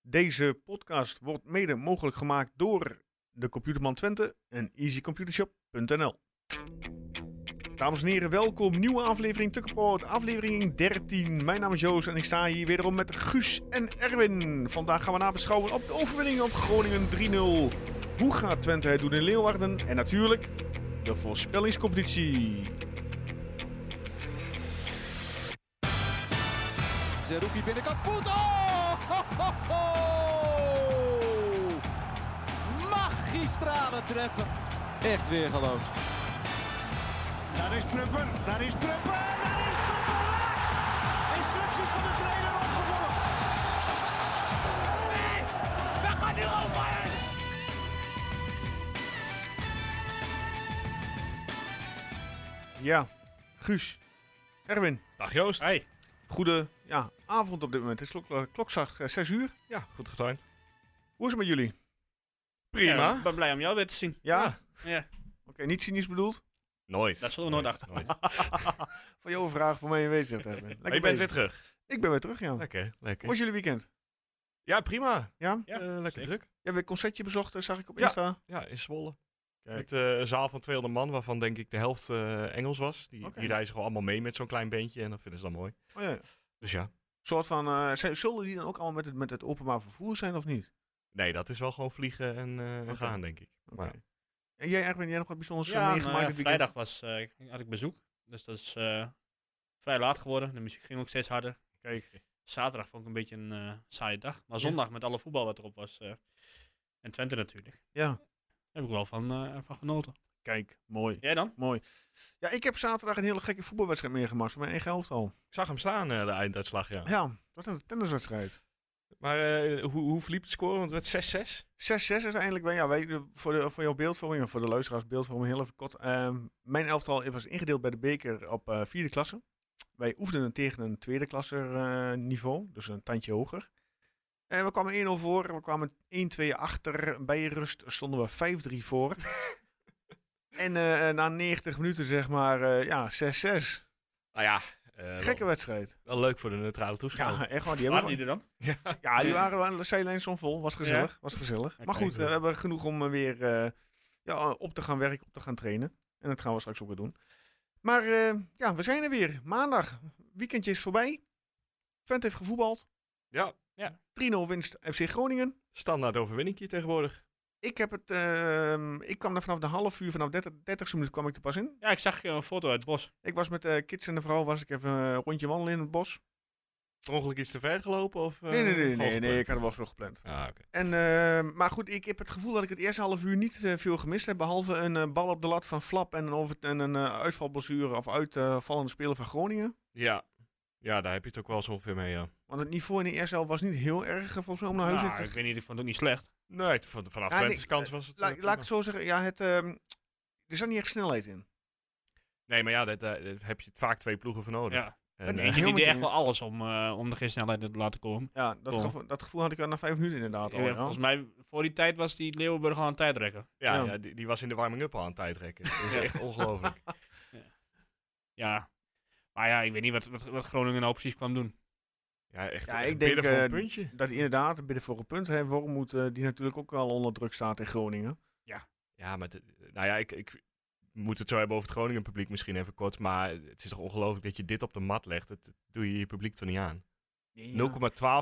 Deze podcast wordt mede mogelijk gemaakt door de Computerman Twente en easycomputershop.nl. Dames en heren, welkom. Nieuwe aflevering Tukkenproot, aflevering 13. Mijn naam is Joost en ik sta hier wederom met Guus en Erwin. Vandaag gaan we nabeschouwen op de overwinning op Groningen 3-0. Hoe gaat Twente het doen in Leeuwarden? En natuurlijk de voorspellingscompetitie. Zerouki binnenkant voet. Oh! Ho, ho, ho! Magistrale treppen. Echt weer geloof. Daar is Prupper, daar is Prupper, daar is Prupper! Instructies van de trainer opgevolgd. We gaan nu over! Ja, Guus, Erwin, Dag Joost. Hey. goede ja, avond op dit moment. Het is klok, eh, klokslag eh, 6 uur. Ja, goed getimed. Hoe is het met jullie? Prima. Ja, ik ben blij om jou weer te zien. Ja? Ja. Oké, niet cynisch bedoeld. Nooit. Dat zullen we nooit Van jouw vraag, voor mij een weet zegt Erwin. Maar Oh, je bent weer terug. Ik ben weer terug, ja. Hoe Lekker, lekker. was jullie weekend? Ja, prima. Ja? Ja, Eh, lekker zeker. druk. Ja, weer een concertje bezocht, eh, zag ik op Ja. Insta. Ja, in Zwolle. Kijk. Met eh, een zaal van 200 man, waarvan denk ik de helft eh, Engels was. Die, Oké. die reizen gewoon allemaal mee met zo'n klein beentje en dat vinden ze dan mooi. Oh, ja. Een Dus ja. soort van, eh, zijn- zullen die dan ook allemaal met het, met het openbaar vervoer zijn of niet? Nee, dat is wel gewoon vliegen en eh, en Oké. gaan, denk ik. Oké. Maar- En jij Erwin, jij nog wat bijzonders eh, ja, meegemaakt nou ja, dit weekend? vrijdag was, eh, ik- had ik bezoek. Dus dat is eh, vrij laat geworden. De muziek ging ook steeds harder. Kijk. Zaterdag vond ik een beetje een eh, saaie dag. Maar zondag met alle voetbal wat erop was. eh, en Twente natuurlijk. Ja, Daar heb ik wel van, eh, van genoten. kijk, mooi. Jij dan? Mooi. Ja, ik heb zaterdag een hele gekke voetbalwedstrijd meegemaakt van mijn eigen helft al. Ik zag hem staan, eh, de einduitslag, ja. Ja, dat was een tenniswedstrijd. 6-6 Maar eh, hoe, hoe verliep het score? Want het werd 6-6. uiteindelijk. Wij, ja, wij, eh, voor, de, voor jouw beeldvorming, of voor de luisteraars beeldvorming, heel even kort. Ehm, mijn elftal was ingedeeld bij de beker op eh, vierde klasse. Wij oefenden tegen een tweede klasse eh, niveau, dus een tandje hoger. En we kwamen 1-0 voor, we kwamen 1-2 achter. Bij rust stonden we 5-3 voor. en eh, na 90 minuten zeg maar, eh, ja, 6-6. Nou ja, eh, Gekke wel, wedstrijd. wel leuk voor de neutrale toeschouwer. Ja, echt waar. Die hebben Waren we die er dan? Ja, die waren waren de zijlijn stond vol. Was gezellig. Was gezellig. Maar goed, eh, we hebben genoeg om eh, weer eh, ja, op te gaan werken, op te gaan trainen. En dat gaan we straks ook weer doen. Maar eh, ja, we zijn er weer. Maandag. Weekendje is voorbij. Twente heeft gevoetbald. Ja, 3-0 winst FC Groningen. standaard overwinningje tegenwoordig. Ik, heb het, ehm, ik kwam er vanaf de half uur, vanaf 30, 30 minuut kwam ik er pas in. Ja, ik zag eh, een foto uit het bos. Ik was met eh kids en de vrouw, was ik even een rondje wandelen in het bos. Per ongeluk iets te ver gelopen? Of, eh, Nee, nee, nee, nee, gewoon nee, gepland? ik had er wel zo gepland. Ah, oké. En, eh, maar goed, ik heb het gevoel dat ik het eerste half uur niet eh, veel gemist heb. Behalve een eh, bal op de lat van Flap en een, over- en een eh, uitvalblessure of uitvallende speler van Groningen. Ja. ja, daar heb je het ook wel zo ongeveer mee, ja. Want het niveau in de eerste helft was niet heel Oh, erg eh, volgens mij om naar huis Nou, te ik weet niet, ik vond het ook niet slecht. Nee, het- van- vanaf Ja, Twente's nee, kant was het... eh, La- prima. Laat ik het zo zeggen, ja, het, ehm, er zat niet echt snelheid in. Nee, maar ja, daar daar heb je vaak twee ploegen voor nodig. Ja. En, Nee, eh, heel Je met je deed echt eens. wel alles om, eh, om er geen snelheid in te laten komen. Ja, dat, Oh. gevo- dat gevoel had ik al na vijf minuten inderdaad. Ja, al, ja. Volgens mij, voor die tijd was die Leeuwenburg al een tijdrekker. ja, ja. ja, die, die was in de warming-up al aan het tijdrekken. Dat is echt ongelooflijk. Ja. Maar ja, ik weet niet wat, wat, wat Groningen nou precies kwam doen. Ja, echt, Ja, echt ik bidden denk, voor een eh, puntje. Dat hij inderdaad binnen voor een punt heeft. Waarom moet eh, die natuurlijk ook wel onder druk staat in Groningen? Ja, maar het- nou ja, ik, ik moet het zo hebben over het Groningen publiek misschien even kort. Maar het is toch ongelooflijk dat je dit op de mat legt. Dat doe je je publiek toch niet aan.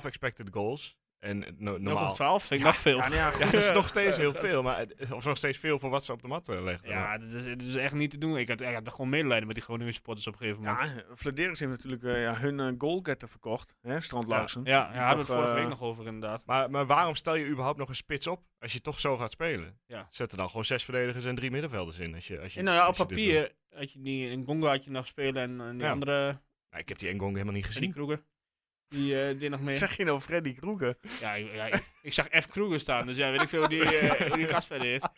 0,12 expected goals. En eh, no- normaal. 12 vind ik nog veel. Ja, Ja, nou ja, Ja, dat is nog steeds heel veel. Maar, het- of nog steeds veel voor wat ze op de mat eh, legden. dat, is, dat is echt niet te doen. Ik had, ik had er gewoon medelijden met die Groningen supporters op een gegeven moment. ja, Vladeris heeft natuurlijk eh, ja, hun eh, goalgetter verkocht. Hè, Strand Larsen. Ja, ja, daar hadden we Toch, het vorige eh, week nog over inderdaad. Maar, maar waarom stel je überhaupt nog een spits op als je toch zo gaat spelen? Ja. Zet er dan gewoon zes verdedigers en drie middenvelders in. Als je, als je, En nou ja, op als je dus dit doet. papier had je die in Gonga had je nog spelen en, en die Ja. andere, Nou, ik heb die Engong helemaal niet en die gezien. Kroeger, die eh deed nog mee. Zeg je nou Freddy Kroeger? Ja, ik, ja, ik, ik zag F. Kroeger staan, dus ja, weet ik veel hoe die, eh, hoe die gast verder heeft.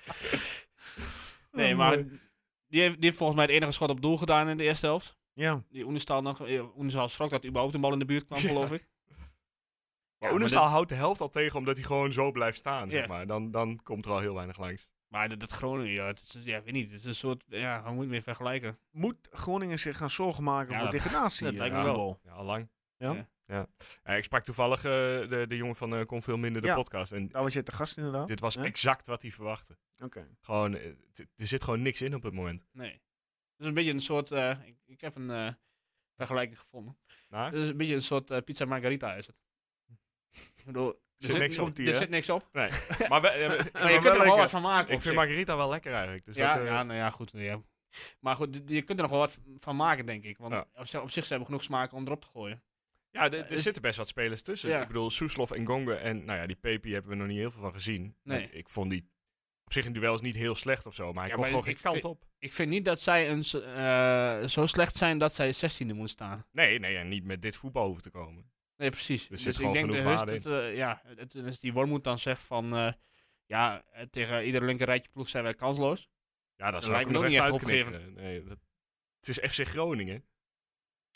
Nee, maar die heeft, die heeft volgens mij het enige schot op doel gedaan in de eerste helft. Ja. Die Oenestal nog, eh, Oenestal schrok dat überhaupt een bal in de buurt kwam, Ja. geloof ik. Maar Ja, maar Oenestal dat- houdt de helft al tegen omdat hij gewoon zo blijft staan. Ja. Zeg maar. dan, dan komt er al heel weinig langs. Maar dat, dat Groningen, ja, het is, ja, ik weet niet, het is een soort, ja, hoe moet je het mee vergelijken? Moet Groningen zich gaan zorgen maken Ja, voor dat- degradatie? dat eh, lijkt me aan wel. voetbal? Ja, al lang. Ja. Ja. Ja, ik sprak toevallig eh, de, de jongen van eh Kon Veel Minder, de Ja. podcast. En Daar was je te Nou, gast inderdaad. dit was Ja. exact wat hij verwachtte. Oké. Gewoon, eh, t- er zit gewoon niks in op het moment. Nee. Het is een beetje een soort. eh, ik, ik heb een eh, vergelijking gevonden. Nou, Het is een beetje een soort eh, pizza margarita is het. Ik bedoel, er zit niks op die, Er hè? zit niks op. maar we, eh, we- ik Maar vind je kunt wel er nog wel wat lekker. van maken. Ik vind op zich. Margarita wel lekker eigenlijk. Dus ja, dat, eh, ja, nou ja, goed. Ja. Maar goed, d- je kunt er nog wel wat van maken, denk ik. Want Ja. op, zich, op zich ze hebben genoeg smaak om erop te gooien. Ja, er, er is- zitten best wat spelers tussen. Eh, dus- Ja. Ik bedoel, Soeslof en Gonga en nou ja, die Pepi hebben we nog niet heel veel van gezien. Maar Nee. Ik vond die op zich in duels niet heel slecht of zo, maar hij Ja, kwam maar gewoon geen ik- kant ik- op. Ik vind niet dat zij een, s- eh, zo slecht zijn dat zij 16e moet staan. Nee, nee, en niet met dit voetbal hoeven te komen. Nee, precies. zit dus ik gewoon denk dat genoeg heus waarde dat, eh, ja, het, dus die Wormoed dan zegt van. eh, ja, eh, tegen iedere linker rijtje ploeg zijn wij kansloos. Ja, dat zou ik lijkt me me nog ook echt niet echt uitknikken. Nee, dat, het is FC Groningen.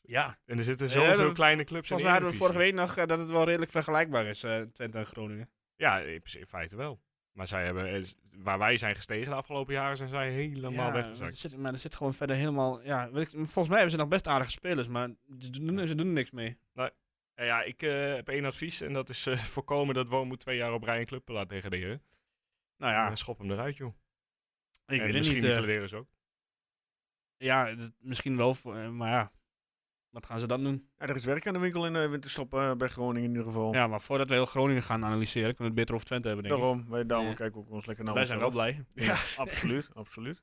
Ja, En er zitten Ja, zoveel dat- kleine clubs in de Volgens mij hadden we vorige Eredivisie. week nog eh, dat het wel redelijk vergelijkbaar is, eh Twente en Groningen. Ja, in principe- in feite wel. Maar zij hebben, eh, s- waar wij zijn gestegen de afgelopen jaren, zijn zij helemaal Ja, want weggezakt. er zit- maar er zit gewoon verder helemaal... Ja, weet ik- volgens mij hebben ze nog best aardige spelers, maar ze doen, ze doen er niks mee. Nou ja, ik eh, heb één advies en dat is eh, voorkomen dat Woonmoed twee jaar op rij een club laat degraderen. Nou Ja. ja, schop hem eruit, joh. ik en weet het misschien niet. de eh, Vlederis ook. ja, d- misschien wel, voor- eh, maar ja. Wat gaan ze dan doen? Ja, er is werk aan de winkel in de winterstop eh, bij Groningen in ieder geval. Ja, maar voordat we heel Groningen gaan analyseren, kunnen we het beter over Twente hebben, denk ik. Daarom, wij daarom Ja. kijken ook ons lekker naar Wij zijn wel onszelf. blij. Ja, absoluut, absoluut.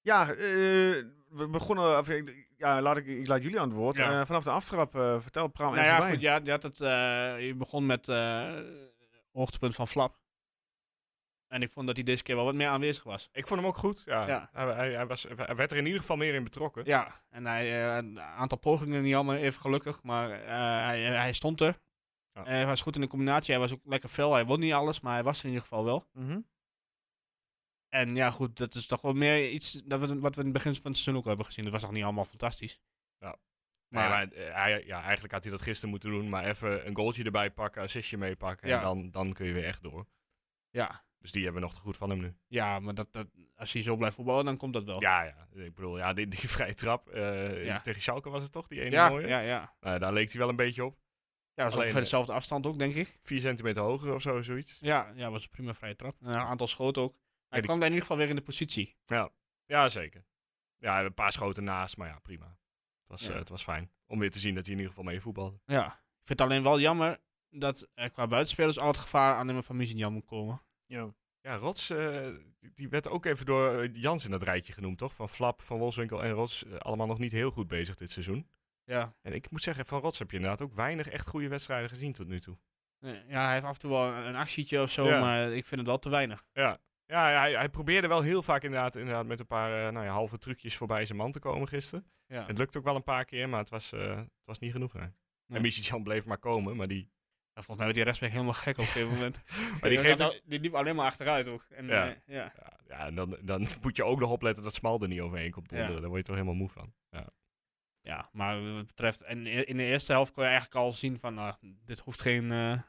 Ja, eh, we begonnen, of, ik- ja, laat ik, ik laat jullie aan het woord. Ja. Eh, vanaf de aftrap, eh, vertel het praat nou ja, goed, ja, je, had het, eh, je begon met eh hoogtepunt van Flap. En ik vond dat hij deze keer wel wat meer aanwezig was. Ik vond hem ook goed. Ja. Ja. Hij, hij, hij was, hij werd er in ieder geval meer in betrokken. Ja, en hij, eh, een aantal pogingen niet allemaal even gelukkig, maar eh, hij, hij stond er. Ja. Eh, hij was goed in de combinatie, hij was ook lekker fel, hij won niet alles, maar hij was er in ieder geval wel. Mhm. En ja, goed, dat is toch wel meer iets dat we, wat we in het begin van het seizoen ook hebben gezien. Dat was nog niet allemaal fantastisch. Ja. Nee, Maar, maar, eh, hij, ja, eigenlijk had hij dat gisteren moeten doen, maar even een goaltje erbij pakken, assistje meepakken Ja. en dan, dan kun je weer echt door. ja, Dus die hebben we nog te goed van hem nu. ja, maar dat, dat, als hij zo blijft voetballen, dan komt dat wel. Ja, ja. Ik bedoel, ja, die, die vrije trap eh, Oh. Ja. tegen Schalke was het toch, die ene ja, mooie? ja, ja. Nou, daar leek hij wel een beetje op. Ja, was Alleen, ongeveer eh, dezelfde afstand ook, denk ik. Vier centimeter hoger of zo, zoiets. Ja, ja, was een prima vrije trap. En Een aantal schoten ook. Hij die- kwam daar in ieder geval weer in de positie. Ja, zeker. Ja, een paar schoten naast, maar ja, prima. Het was, Ja. eh, het was fijn. Om weer te zien dat hij in ieder geval mee voetbalde. Ja, ik vind het alleen wel jammer dat eh, qua buitenspelers al het gevaar aan hem van Mizignan moet komen. Ja. Ja, Rots, eh, die- die werd ook even door eh, Jans in dat rijtje genoemd, toch? Van Flap, Van Wolfswinkel en Rots, eh, allemaal nog niet heel goed bezig dit seizoen. Ja. En ik moet zeggen, van Rots heb je inderdaad ook weinig echt goede wedstrijden gezien tot nu toe. ja, hij heeft af en toe wel een een actietje of zo, Ja. maar ik vind het wel te weinig. Ja, ja, hij, hij probeerde wel heel vaak inderdaad, inderdaad met een paar eh, nou ja, halve trucjes voorbij zijn man te komen gisteren. Ja. Het lukte ook wel een paar keer, maar het was, eh, het was niet genoeg. hè. Nee. En Missy Jan bleef maar komen, maar die... Ja, volgens mij werd die rechtsback helemaal gek op een gegeven moment. Maar die geeft al- die liep alleen maar achteruit ook. En, Ja. eh, ja. Ja, ja, en dan, dan moet je ook nog opletten dat Smal er niet overheen komt Ja. donderen. Daar word je toch helemaal moe van. Ja. ja, maar wat betreft, en i- in de eerste helft kon je eigenlijk al zien van, nou, dit hoeft geen, eh,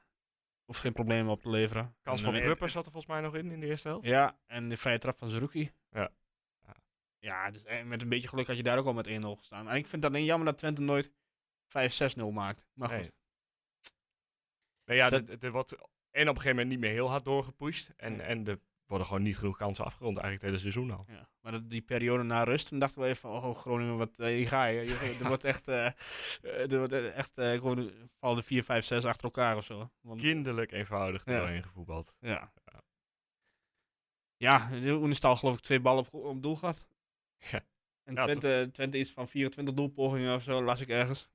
hoeft geen problemen op te leveren. Kans En, van eh, Brupper zat er volgens mij nog in, in de eerste helft. Ja, en de vrije trap van Zerouki. Ja. Ja. Ja, dus eh, met een beetje geluk had je daar ook al met 1-0 gestaan. En ik vind het alleen jammer dat Twente nooit 5-6-0 maakt. Maar goed. Nee. Nee, Nou ja, Dat- dat, er wordt en op een gegeven moment niet meer heel hard doorgepusht. En, en er worden gewoon niet genoeg kansen afgerond eigenlijk het hele seizoen al. Ja. Maar dat, die periode na rust, toen dachten we even, van, oh Groningen, wat, eh, hier ga je. Je- Er wordt echt, eh, eh, er wordt eh, echt eh, gewoon, eh, vallen de 4, 5, 6 achter elkaar of zo. Want, Kinderlijk eenvoudig Ja. doorheen gevoetbald. ja. Ja, Oenestal geloof ik twee ballen op, op doel gehad. Ja. En Ja, Twente, Twente iets van 24 doelpogingen of zo, las ik ergens.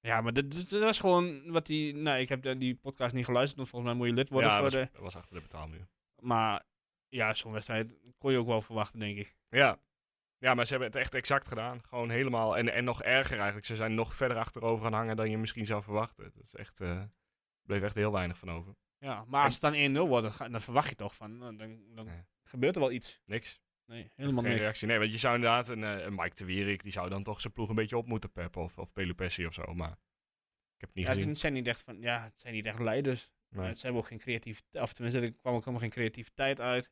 Ja, maar dat, dat, dat was gewoon wat die... Nou, ik heb de- die podcast niet geluisterd, want volgens mij moet je lid worden. ja, voor dat de, was, was achter de betaalmuur. maar ja, zo'n wedstrijd kon je ook wel verwachten, denk ik. Ja. ja, maar ze hebben het echt exact gedaan. Gewoon helemaal. En, en nog erger eigenlijk. Ze zijn nog verder achterover gaan hangen dan je misschien zou verwachten. Dat is echt... eh, er bleef echt heel weinig van over. Ja, maar als het dan 1-0 wordt, dan, ga- dan verwacht je toch van, nou, dan, dan Ja. gebeurt er wel iets. Niks. Nee, helemaal Geen niks. reactie. Nee, want je zou inderdaad een, eh, een Mike de Wierik, die zou dan toch zijn ploeg een beetje op moeten peppen. Of, of Pelupessi of zo, maar ik heb het niet Ja, gezien. het zijn niet echt van, ja, het zijn niet echt leiders. Nee. Ze hebben ook geen creativiteit, of tenminste, er kwam ook helemaal geen creativiteit uit.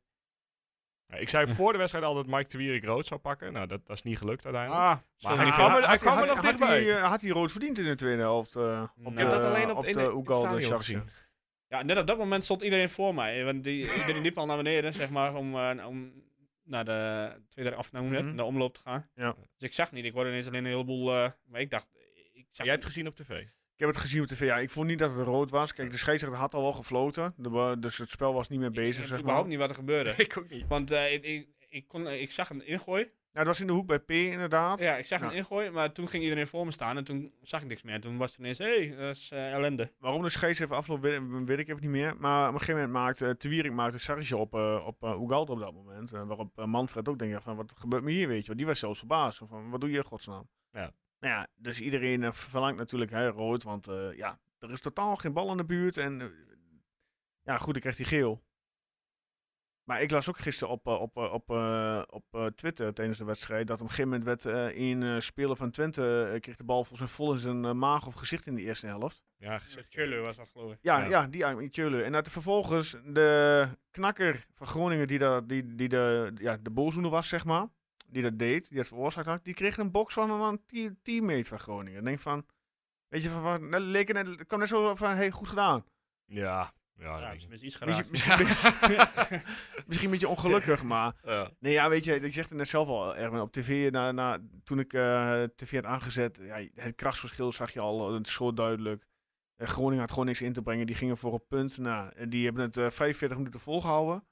Ja, ik zei voor de wedstrijd al dat Mike de Wierik rood zou pakken. Nou, dat, dat is niet gelukt uiteindelijk. Ah, maar hij hij kwam kan er- hij kwam er nog had, dichtbij. hij, eh, had hij rood verdiend in de tweede helft? eh, op Ik de, heb dat alleen op- op in de het- in het Ugal de stadion Sharks. gezien. Ja, net op dat moment stond iedereen voor mij. eh, Want die, iedereen liep al naar beneden, zeg maar, om, eh, om naar de tweede af, naar Mhm. de omloop te gaan. Ja. Dus ik zag niet. Ik hoorde ineens alleen een heleboel... eh, maar ik dacht... Ik zag Jij hebt het gezien op tv. Ik heb het gezien op tv. Ja, ik vond niet dat het rood was. Kijk, de scheidsrechter had al wel gefloten. De wa- dus het spel was niet meer ik- bezig, ik- zeg maar. überhaupt niet wat er gebeurde. Ik ook niet. Want eh, ik, ik, ik kon, ik zag een ingooi. Ja, Nou, het was in de hoek bij P, inderdaad. Ja, ik zag Ja. een ingooi, maar toen ging iedereen voor me staan en toen zag ik niks meer. Toen was het ineens, hé, hey, dat is eh, ellende. Waarom de scheidsrechter afloopt, weet, weet ik even niet meer. Maar op een gegeven moment maakte uh, Tewierik maakte Sarge op, eh op eh, Ugalde op dat moment. Eh, waarop eh, Manfred ook denkt van, wat gebeurt me hier, weet je wel. Die was zelfs verbaasd. Zo Van, wat doe je in godsnaam? Ja. Nou ja, dus iedereen eh, verlangt natuurlijk hè, rood, want eh, ja, er is totaal geen bal in de buurt. En eh, ja, goed, ik kreeg die geel. Maar ik las ook gisteren op, eh, op, eh, op, eh, op eh, Twitter tijdens de wedstrijd dat op een gegeven moment werd eh een eh, speler van Twente eh, kreeg de bal volgens mij vol in zijn eh, maag of gezicht in de eerste helft. Ja, gezegd. Chillen was dat geloof ik. Ja, ja. Ja. die eigenlijk met Tjölle. En dat vervolgens de knakker van Groningen, die, daar die, die de, ja, de boosdoener was, zeg maar, die dat deed, die dat veroorzaakt had, die kreeg een box van een te- teammate van Groningen. Ik denk van, weet je, van, wat, net leek het net, het kwam net zo van, hey, goed gedaan. Ja, ja, Ja, dat weet ik dus niet. met iets Misschien, geraakt. misschien, misschien een beetje ongelukkig, maar Ja. Nee, ja, weet je, ik zeg het net zelf al, Erwin, op tv, na, na, toen ik eh, tv had aangezet, ja, het krachtsverschil zag je al eh, zo duidelijk. Eh, Groningen had gewoon niks in te brengen, die gingen voor een punt. Nou, en die hebben het eh, 45 minuten volgehouden.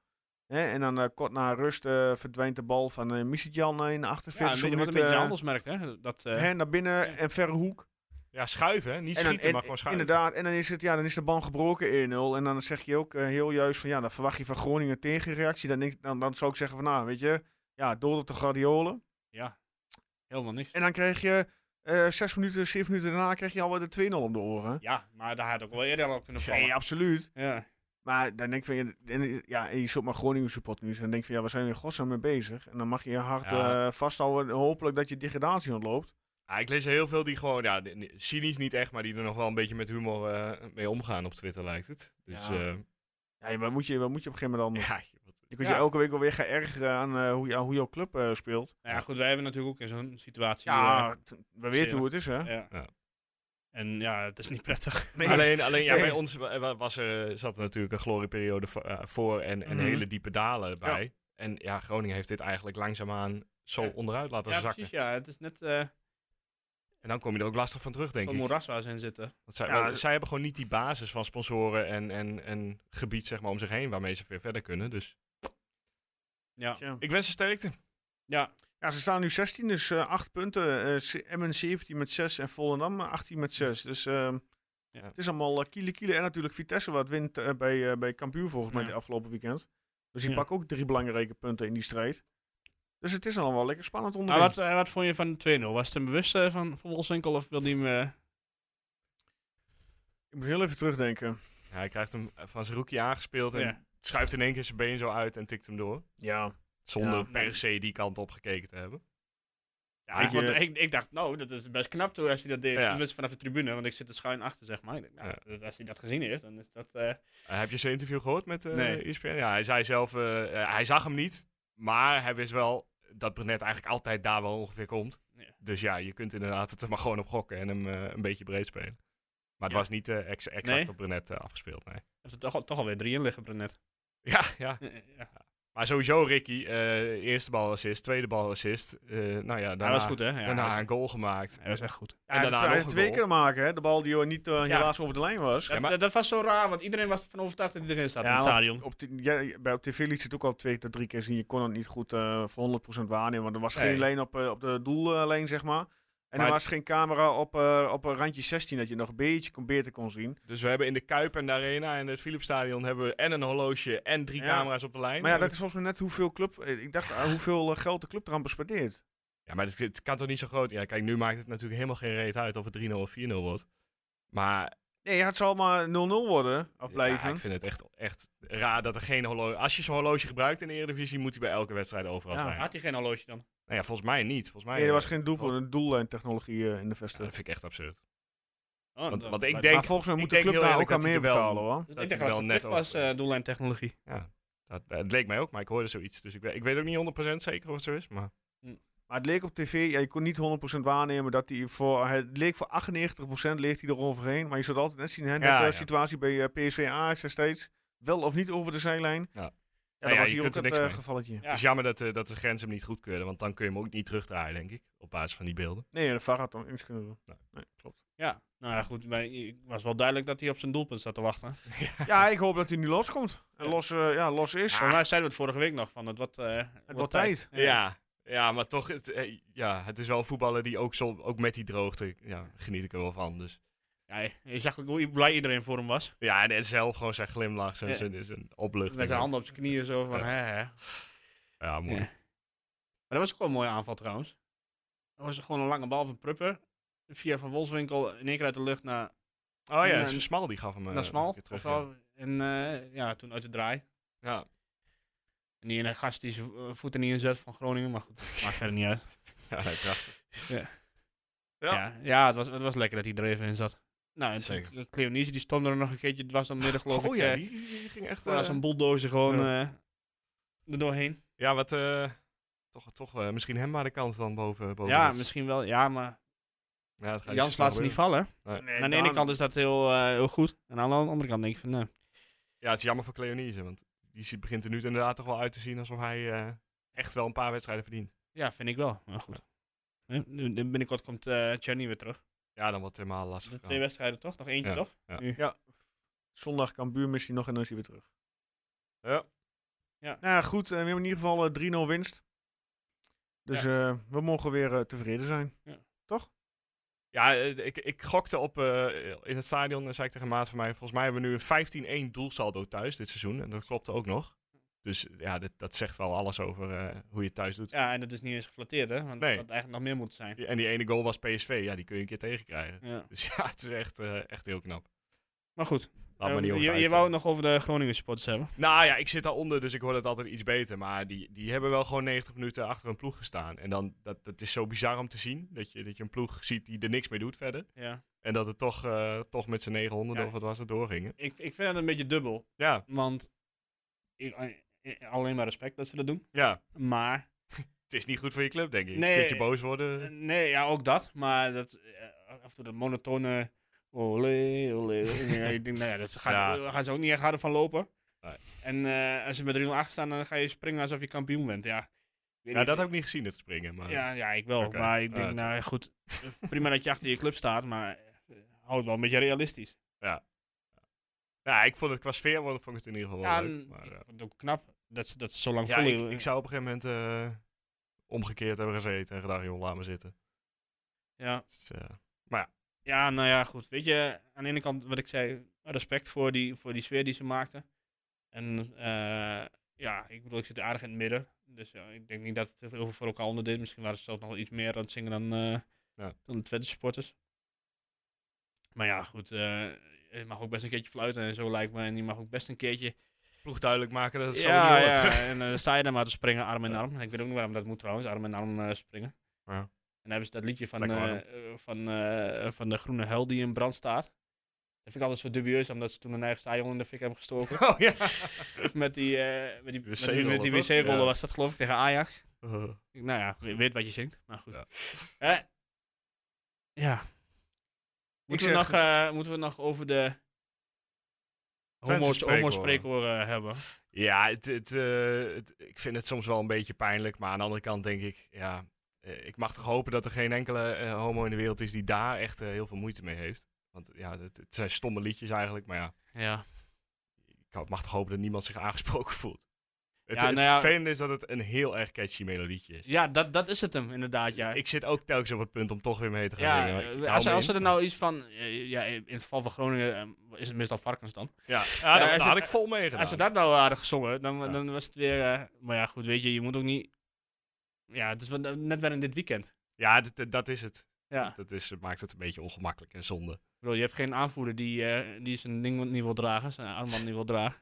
Hè, en dan eh, kort na rust eh, verdwijnt de bal van eh Misitjan in de Ja, een 48 beetje, wat een minuten, beetje eh, anders merkt, hè. Dat, eh, hè, naar binnen en verre hoek. ja, schuiven, hè? Niet en dan, schieten, en- maar gewoon schuiven. Inderdaad, en dan is, het, ja, dan is de bal gebroken 1-0. En dan zeg je ook eh, heel juist van, ja, dan verwacht je van Groningen tegenreactie. Dan, denk- dan, dan zou ik zeggen van, nou, weet je, ja, door op de gladiolen. ja, helemaal niks. En dan kreeg je eh, zes minuten, zeven minuten daarna kreeg je alweer de 2-0 om de oren. Ja, maar daar had ook wel eerder al op kunnen vallen. Nee, absoluut. Ja. Maar dan denk ik van, ja, en- ja, en je zult maar Groningen support nu. En dan denk je van, ja, we zijn er in godsnaam mee bezig. En dan mag je je hart Ja. eh, vasthouden en hopelijk dat je degradatie ontloopt. Ja, ik lees heel veel die gewoon, ja, ni- ni- cynisch niet echt, maar die er nog wel een beetje met humor eh, mee omgaan op Twitter, lijkt het. Dus Ja. ja, Ja, wat moet je, wat moet je op een gegeven moment dan? ja je- wat- Je kunt Ja. je elke week alweer gaan ergeren aan eh, hoe, je- aan hoe jouw club eh, speelt. Nou ja, goed, wij hebben natuurlijk ook in zo'n situatie... Ja, t- we weten zeker. hoe het is, hè? eh, ja. Ja. En ja, het is niet prettig. Nee. Alleen, alleen ja, Nee. bij ons wa- wa- was er, zat er natuurlijk een glorieperiode vo- eh, voor en, en Mhm. hele diepe dalen bij. En ja, Groningen heeft dit eigenlijk langzaamaan zo Ja. onderuit laten Ja, zakken. precies, ja. Het is net eh En dan kom je er ook lastig van terug, denk zo'n ik. moeras waar ze in zitten. Want zij, Ja, want dat- zij hebben gewoon niet die basis van sponsoren en, en, en gebied zeg maar, om zich heen waarmee ze weer verder kunnen. Dus Ja. Tja. ik wens ze sterkte. Ja. Ja, ze staan nu 16, dus eh 8 punten. Eh, ze- Emmen 17 met 6 en Volendam eh, 18 met 6. Dus ehm, Ja. het is allemaal eh, kiele kiele. En natuurlijk Vitesse wat wint eh, bij, eh, bij Cambuur volgens mij Ja. de afgelopen weekend. Dus die Ja. pakken ook drie belangrijke punten in die strijd. Dus het is allemaal wel lekker spannend Maar onderin. wat, eh, wat vond je van de 2-0? Was het een bewuste eh, van, van Wolfswinkel of wilde hij hem... eh, Ik moet heel even terugdenken. Ja, hij krijgt hem eh, van zijn rookie aangespeeld en Ja. schuift in één keer zijn been zo uit en tikt hem door. Ja. Zonder Ja. per se die kant op gekeken te hebben. Ja, Ja, ik, vond- je- ik, ik dacht, nou, dat is best knap toen als hij dat deed. Ja. Tenminste vanaf de tribune, want ik zit er schuin achter, zeg maar. Ik dacht, nou, Ja. dat- als hij dat gezien heeft, dan is dat... eh, Eh, heb je zijn interview gehoord met eh Nee. ESPN? Ja, hij zei zelf, eh, eh, hij zag hem niet, maar hij wist wel dat Brenet eigenlijk altijd daar wel ongeveer komt. Ja. Dus ja, je kunt inderdaad het er maar gewoon op gokken en hem eh, een beetje breed spelen. Maar het Ja. was niet eh, ex- exact Nee? op Brenet eh, afgespeeld, nee. heeft er toch, al- toch alweer drie in liggen, Brunet. Ja, ja. Ja. Maar sowieso Ricky, eh, eerste bal assist, tweede bal assist. Eh, nou ja, daarna, Hij was goed, hè? Ja, daarna hij was- een goal gemaakt. hij was echt goed. En daarna nog een twee goal. keer maken, hè? De bal die eh, niet eh, helaas over de lijn was. Dat, dat, dat was zo raar, want iedereen was ervan overtuigd dat hij erin staat in het maar stadion. Oh, Op, t- ja, bij op tv liet ze het ook al twee tot drie keer zien. Je kon het niet goed eh, voor 100% waarnemen. Want er was geen Nee. lijn op, eh, op de doellijn, zeg maar. En Maar- er was geen camera op, eh, op een randje 16 dat je nog een beetje kon, beter kon zien. Dus we hebben in de Kuip en de Arena en het Philipsstadion hebben we en een horloge en drie Ja. camera's op de lijn. Maar ja, En dat is volgens mij net hoeveel club. eh, Ik dacht eh, hoeveel eh, geld de club eraan bespendeert. Ja, maar het, het kan toch niet zo groot. Ja, kijk, nu maakt het natuurlijk helemaal geen reet uit of het 3-0 of 4-0 wordt. Maar Nee, het zal maar 0-0 worden. Of ja, blijven. ik vind het echt, echt raar dat er geen horloge... Als je zo'n horloge gebruikt in de Eredivisie, moet hij bij elke wedstrijd overal Ja. zijn. Had hij geen horloge dan? Nou ja, volgens mij niet. Volgens mij nee, er was eh, geen doelpunt, een doellijntechnologie eh, in de ja, vesten. dat vind ik echt absurd. Oh, Want- dat- want ik dat- denk- maar volgens mij ik moet de denk club heel daar ook eerlijk aan dat meer hij er wel- betalen hoor. dat- hij ik dacht wel dat het net net was over- eh doellijn technologie. Ja. Dat, eh, het leek mij ook, maar ik hoorde zoiets. Dus ik, weet- ik weet ook niet 100% zeker of het zo is. Maar Maar het leek op tv, ja, je kon niet 100% waarnemen dat hij voor, het leek voor 98% leeg hij eroverheen. Maar je zult altijd net zien, hè, dat Ja, eh, ja. situatie bij eh, PSV Ajax destijds, wel of niet over de zijlijn. Ja, Ja. dat Nou ja, was je hier ook kunt er het niks eh, mee. gevalletje. Ja. het is jammer dat, eh, dat de grens hem niet goedkeurde. Want dan kun je hem ook niet terugdraaien, denk ik. Op basis van die beelden. Nee, de VAR had dan niks kunnen doen. Nee, klopt. Ja, nou ja, goed. Maar het was wel duidelijk dat hij op zijn doelpunt zat te wachten. Ja, ik hoop dat hij nu loskomt. En Ja. los, eh, ja, los is. Volgens mij zeiden we het vorige week nog van het wordt, eh, het wordt tijd. Ja, ja maar toch, het, eh, ja, het is wel een voetballer die ook, zo, ook met die droogte, ja, geniet ik er wel van. Dus. Ja, je- je zag ook hoe blij iedereen voor hem was. Ja, en- en zelf gewoon zijn glimlach, zijn, Ja. zijn, zijn opluchting. Met zijn handen op zijn knieën zo van Ja. hè hè. Ja, mooi. Oh Ja. Maar dat was ook wel een mooie aanval trouwens. Dat was gewoon een lange bal van Prupper. Via Van Wolfswinkel in één keer uit de lucht naar, Oh ja, Ja, dus Smal die gaf hem eh, naar Smal. een keer terug. of wel. En eh, ja, toen uit de draai. ja. Ja. En die ene gast die zijn vo- eh, voeten niet inzet van Groningen, maar goed, maakt verder niet uit. Ja, nee, prachtig. Ja, Ja. ja, het, was, het was lekker dat hij er even in zat. Nou, en Zeker. toen- Cleonice die stond er nog een keertje, het was dan midden geloof Oh ik. ja, eh, die, die ging echt... Als eh, een bulldozer gewoon ja. eh, er doorheen. ja, wat... eh, toch, toch eh, misschien hem maar de kans dan boven... boven Ja, dit. misschien wel. Ja, maar Ja, het gaat niet Jans snel laat ze niet gebeuren. vallen. En aan de ene daarom- kant is dat heel, eh, heel goed. En aan de andere kant denk ik van, nee. Ja, het is jammer voor Cleonise, want die zie- begint er nu inderdaad toch wel uit te zien alsof hij eh, echt wel een paar wedstrijden verdient. Ja, vind ik wel. Maar goed. Eh, nu- nu Binnenkort komt eh Tjani weer terug. Ja, dan wordt het helemaal lastig. De twee wedstrijden toch? Nog eentje Ja. toch? Zondag kan buurmissie nog en dan is hij weer terug. Ja. Ja. Nou ja, goed. eh, we hebben in ieder geval eh, 3-0 winst. Dus eh, we mogen weer eh, tevreden zijn. Ja, eh, ik, ik gokte op eh, in het stadion en zei ik tegen Maat van mij, volgens mij hebben we nu een 15-1 doelsaldo thuis dit seizoen. En dat klopte ook nog. Dus ja, dit- dat zegt wel alles over eh, hoe je het thuis doet. Ja, en dat is niet eens geflatteerd hè. Want Nee. dat had eigenlijk nog meer moeten zijn. Die- En die ene goal was PSV, ja, die kun je een keer tegenkrijgen. Ja. Dus ja, het is echt, eh, echt heel knap. Maar goed. Laat eh, maar niet over je, het je uit, wou eh. het nog over de Groningen supporters hebben. Nou ja, ik zit daaronder, dus ik hoor het altijd iets beter. Maar die, die hebben wel gewoon 90 minuten achter een ploeg gestaan. En dan, dat, dat is zo bizar om te zien. Dat je, dat je een ploeg ziet die er niks mee doet verder. Ja. En dat het toch, eh, toch met z'n 900 Ja. of wat was het doorgingen. Ik, ik vind dat een beetje dubbel. Ja, Want ik, eh, alleen maar respect dat ze dat doen. ja. Maar Het is niet goed voor je club, denk ik. Nee. Kunt je boos worden? Eh, Nee, ja, ook dat. Maar dat, eh, af en toe dat monotone... Olé, olé. ja, ik denk, nou ja, dat ze gaan, Ja. daar gaan ze ook niet echt harder van lopen. Nee. En eh, als ze met 3-0 achter staan, dan ga je springen alsof je kampioen bent. Ja, Ik weet Ja, niet. dat heb ik niet gezien, het springen. Maar... ja, ja ik wel. Oké. Maar ik Ah, denk, dat- nou ja, goed, prima dat je achter je club staat, maar eh, hou het wel een beetje realistisch. Ja, ik vond het qua sfeer vond ik het in ieder geval wel Ja, mm, leuk. en Maar, eh, ik vond het ook knap dat ze dat ze zo lang ja, volhielden. ik, ik zou op een gegeven moment eh, omgekeerd hebben gezeten. En gedacht, joh, laat me zitten. ja. Het is, eh, Ja, nou ja, goed. Weet je, aan de ene kant wat ik zei, respect voor die, voor die sfeer die ze maakten. En eh, ja, ik bedoel, ik zit aardig in het midden. Dus ja, ik denk niet dat het heel veel voor elkaar onderdeed. Misschien waren ze zelfs nog wel iets meer aan het zingen dan, eh, Ja. dan de Twente supporters. Maar ja, goed. eh, je mag ook best een keertje fluiten en zo lijkt me. En je mag ook best een keertje... ploeg duidelijk maken dat het zo ja, niet hoort. ja, en eh, dan sta je daar maar te springen, arm in arm. Ik weet ook niet waarom dat moet trouwens, arm in arm eh, springen. Ja. En dan hebben ze dat liedje van, Lekker eh, eh, van, eh, van de groene hel die in brand staat. Dat vind ik altijd zo dubieus, omdat ze toen een eigen stadion in de fik hebben gestoken. Oh ja. met die, eh, met die, met die, WC-rollen, met die toch? wc-rollen Ja. was dat geloof ik, tegen Ajax. Eh. Ik- Nou ja, je weet wat je zingt, maar goed. Ja. Eh, ja. Moeten, we zeg- nog, eh, moeten we nog over de Twente homo's- spreekwoorden. homo-spreekwoorden hebben? Ja, het, het, eh, het- ik vind het soms wel een beetje pijnlijk. Maar aan de andere kant denk ik, ja, eh, ik mag toch hopen dat er geen enkele eh, homo in de wereld is die daar echt eh, heel veel moeite mee heeft. Want ja, het, het zijn stomme liedjes eigenlijk. Maar ja, Ja. ik ho- mag toch hopen dat niemand zich aangesproken voelt. Het, Ja, het nou ja. vervelende is dat het een heel erg catchy melodietje is. Ja, dat, dat is het hem inderdaad, ja. Ik zit ook telkens op het punt om toch weer mee te gaan ja, zingen, maar ik- ik eh, hou als, me als in. er nou iets van, eh, ja, in het geval van Groningen eh, is het meestal varkens dan. Ja, ja, als daar het- had ik vol meegedaan. Als ze dat nou hadden gezongen, dan, Ja. dan was het weer, eh, maar ja goed, weet je, je moet ook niet, ja, het is wel- net weer in dit weekend. Ja, dat- dat- dat is het. Ja, ik Dat is, het maakt het een beetje ongemakkelijk en zonde. bedoel, je hebt geen aanvoerder die, eh, die zijn ding niet wil dragen, zijn armband niet wil dragen.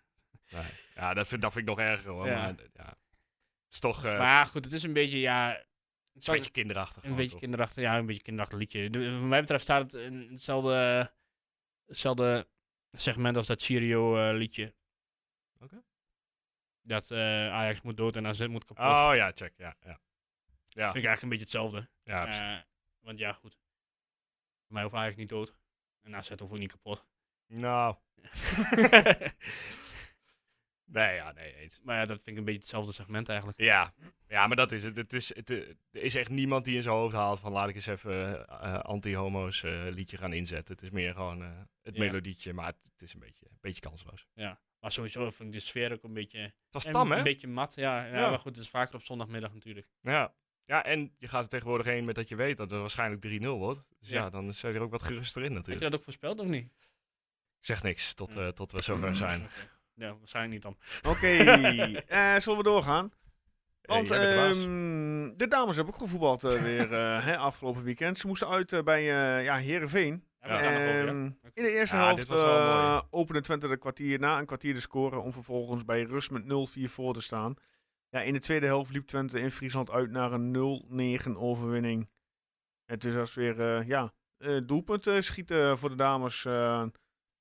Nee. Ja, dat vind, dat vind ik nog erger hoor. Ja. Maar, eh, ja. Het is toch eh, Maar ja, goed, het is een beetje, ja, het het is een beetje kinderachtig. een gewoon, beetje toch? kinderachtig, ja, een beetje kinderachtig liedje. De- wat mij betreft staat het in hetzelfde, hetzelfde segment als dat Cheerio eh, liedje. Oké. dat eh, Ajax moet dood en AZ moet kapot. Oh ja, check. Ja, ja. ja. Vind ik eigenlijk een beetje hetzelfde. ja precies. Eh, want ja, goed. Voor mij hoeft Ajax niet dood. En AZ hoeft ook niet kapot. nou. nee, ja, nee, eens. Maar ja, dat vind ik een beetje hetzelfde segment eigenlijk. Ja. ja, maar dat is het. het, is, het eh, er is echt niemand die in zijn hoofd haalt van laat ik eens even eh, eh, anti-homo's eh, liedje gaan inzetten. Het is meer gewoon eh, het Ja. melodietje, maar het, het is een beetje, een beetje kansloos. Maar sowieso vind ik de sfeer ook een beetje... Het was en tam, hè? Een beetje mat, ja. ja, Ja. Maar goed, het is vaker op zondagmiddag natuurlijk. Ja. ja, en je gaat er tegenwoordig heen met dat je weet dat het waarschijnlijk 3-0 wordt. Dus ja, Ja. dan zijn er ook wat geruster in Heb natuurlijk. je dat ook voorspeld of niet? Ik zeg niks tot, Mm. Ja. eh, tot we zover zijn. Ja, waarschijnlijk niet dan. Oké, eh, zullen we doorgaan? Want Eh, jij bent de baas. ehm, de dames hebben ook gevoetbald eh, weer eh, hè, afgelopen weekend. Ze moesten uit eh, bij eh ja, Heerenveen. Ja, we gaan nog over, ja. Ehm, in de eerste Ja, dit helft was wel eh, mooi. opende Twente de kwartier na een kwartier te scoren om vervolgens bij rust met 0-4 voor te staan. Ja, in de tweede helft liep Twente in Friesland uit naar een 0-9 overwinning. Het is als weer eh, ja, eh, doelpunt eh, schieten voor de dames eh, Ja,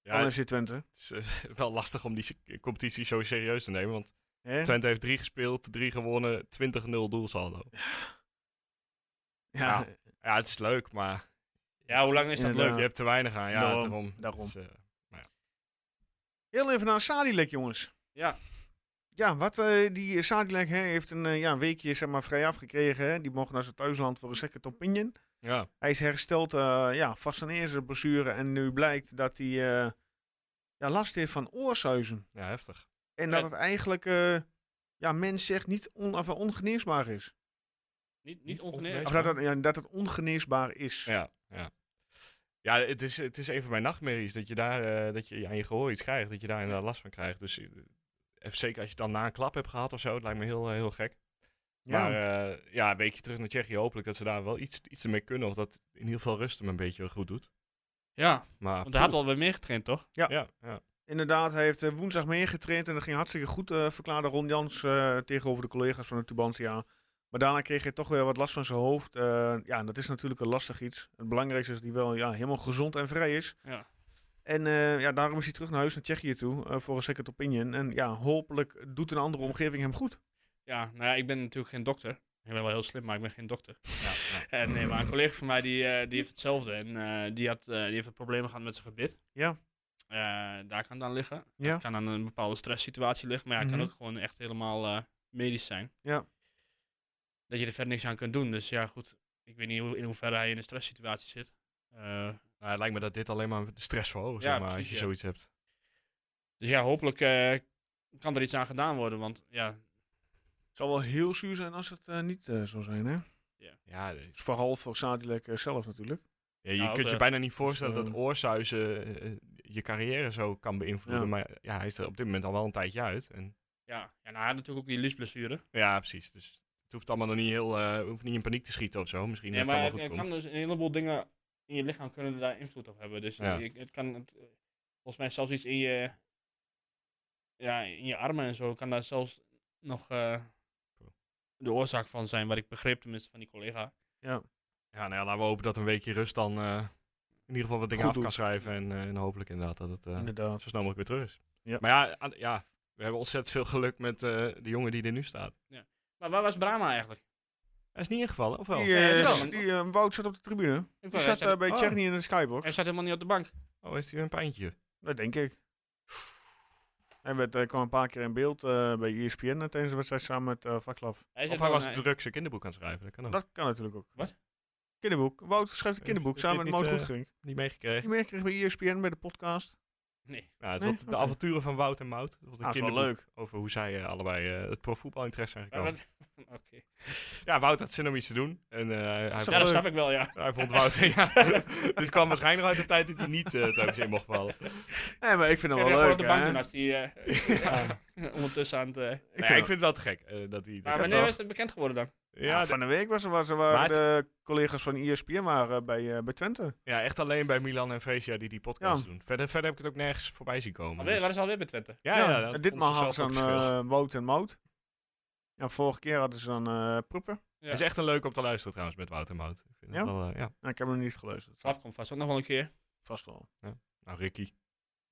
van het FC Twente. is eh, wel lastig om die se- competitie zo serieus te nemen, want Hè? Twente heeft drie gespeeld, drie gewonnen, 20-0 doelsaldo. Ja, Ja. Ja, het is leuk, maar Ja, hoe lang is dat Inderdaad. leuk? je hebt te weinig aan. Ja, Daarom, daarom. daarom. Dus, eh, Heel even naar Sadilek, jongens. Ja. Ja, wat eh, die Sadilek hè, heeft een, eh, ja, een weekje zeg maar, vrij afgekregen. Hè. Die mocht naar zijn thuisland voor een second opinion. ja. Hij is hersteld eh, ja, vast zijn eerste blessure. En nu blijkt dat hij eh, ja, last heeft van oorsuizen. ja, heftig. En dat Ja. het eigenlijk, eh, ja, mens zegt, niet on, of ongeneesbaar is. Niet, niet Niet ongeneeslijk. Of dat het, ja, dat het ongeneesbaar is. Ja, ja. Ja, het is, het is een van mijn nachtmerries dat je daar eh, dat je aan je gehoor iets krijgt, dat je daar inderdaad last van krijgt. Dus eh, even zeker als je het dan na een klap hebt gehad of zo, het lijkt me heel, eh, heel gek. Ja. Maar eh, ja, een weekje terug naar Tsjechië, hopelijk dat ze daar wel iets, iets mee kunnen of dat in ieder geval rust hem een beetje goed doet. Ja, Maar, want hij had wel weer meer getraind, toch? Ja, ja. Inderdaad, hij heeft eh, woensdag meegetraind en dat ging hartstikke goed, eh, verklaarde Ron Jans eh, tegenover de collega's van de Tubantia. Maar daarna kreeg hij toch weer wat last van zijn hoofd. Eh, ja, en dat is natuurlijk een lastig iets. Het belangrijkste is dat hij wel ja, helemaal gezond en vrij is. Ja. En eh, ja, daarom is hij terug naar huis naar Tsjechië toe eh, voor een second opinion. En ja, hopelijk doet een andere omgeving hem goed. Ja, nou ja, ik ben natuurlijk geen dokter. Ik ben wel heel slim, maar ik ben geen dokter. ja, ja. En nee, maar een collega van mij die, eh, die heeft hetzelfde. En eh, die, had, eh, die heeft problemen gehad met zijn gebit. Ja. Eh, daar kan het aan liggen. Ja. Het kan aan een bepaalde stresssituatie liggen. Maar ja, het Mhm. kan ook gewoon echt helemaal eh, medisch zijn. Ja. Dat je er verder niks aan kunt doen. Dus ja, goed. Ik weet niet hoe, in hoeverre hij in een stresssituatie zit. Eh, Nou, het lijkt me dat dit alleen maar de stress verhoogt, Ja, zeg maar, als precies, je ja. zoiets hebt. dus ja, hopelijk eh, kan er iets aan gedaan worden. Want ja, Het zou wel heel zuur zijn als het eh, niet eh, zou zijn, hè? Ja, de- Dus vooral voor Sadilek eh, zelf natuurlijk. Ja, je Nou, kunt ook, je eh, bijna niet voorstellen dus, dat eh, oorsuizen eh, eh, je carrière zo kan beïnvloeden. Ja. Maar ja, hij is er op dit moment al wel een tijdje uit. En, ja. ja nou, hij had natuurlijk ook die liesblessure. ja, precies. Dus het hoeft allemaal nog niet heel, eh, hoeft niet in paniek te schieten of zo. Misschien Nee, dat het maar allemaal het goed kan komt. dus een heleboel dingen in je lichaam kunnen daar invloed op hebben. Dus Ja. je- het kan, het, eh, volgens mij zelfs iets in je, ja, in je armen en zo kan daar zelfs nog eh, de oorzaak van zijn, wat ik begreep tenminste van die collega. Ja, nou ja, laten we hopen dat een weekje rust dan eh, in ieder geval wat dingen Goed af doet. kan schrijven. En, eh, en hopelijk inderdaad dat het eh, Inderdaad. zo snel mogelijk weer terug is. Ja. Maar ja, aan- ja, we hebben ontzettend veel geluk met eh, de jongen die er nu staat. Maar waar was Brahma eigenlijk? Hij is niet ingevallen, of wel? Die, Ja, eh, dat is wel. die, eh, Wout zat op de tribune. Ik Die wou- zat hij, eh, zat, bij Oh. Tsjechië in de skybox. hij zat helemaal niet op de bank. Oh, heeft hij weer een pijntje? Dat denk ik. Hij werd, eh, kwam een paar keer in beeld eh, bij ESPN eh, tijdens de wedstrijd samen met eh Vaklav. Hij zat Of hij wel- was druk zijn kinderboek aan het schrijven. Dat kan ook. Dat kan natuurlijk ook. Wat? Kinderboek. Wout schrijft een Oh. Eh, kinderboek is dit samen met niet, Mout eh, Goedgering. Niet meegekregen. Die meer kreeg bij E ESPN bij de podcast. Nee, Nou, het Nee? was de Oké. avonturen van Wout en Mout. Dat was een Ah, is wel kinderboek leuk. Over hoe zij eh, allebei eh, het profvoetbalinteresse zijn maar gekomen. wat- oké. Ja, Wout had zin om iets te doen. En eh, hij, Ja, dat vond, snap ik wel, ja. hij vond Wout... ja, dit kwam waarschijnlijk uit de tijd dat hij niet eh telkens in mocht vallen. Nee, maar ik vind Kun hem je wel gewoon leuk. op de bank hè? doen als hij eh, ondertussen aan het... eh, Nee, ik vind het wel te gek eh, dat hij... dat maar hij- wanneer is het bekend geworden dan? ja, ja, de- van de week was, was, Maar waren het- de collega's van E ESPN waren bij, eh, bij Twente. ja, echt alleen bij Milan en Fresia die die podcast Ja. doen. Verder, verder heb ik het ook nergens voorbij zien komen. Alweer, Dus- waar is alweer bij Twente? ja, ja, en dat vond ditmaal ze hadden zelf ook ze te veel. dan eh Wout en Mout. Ja, vorige keer hadden ze dan eh Proepen. Ja. Het is echt een leuk om te luisteren trouwens met Wout en Mout. Ik vind Ja? het wel, eh, ja. Nou, ik heb hem nog niet geluisterd. Flap komt vast ook nog wel een keer. Vast wel. Nou, Ricky.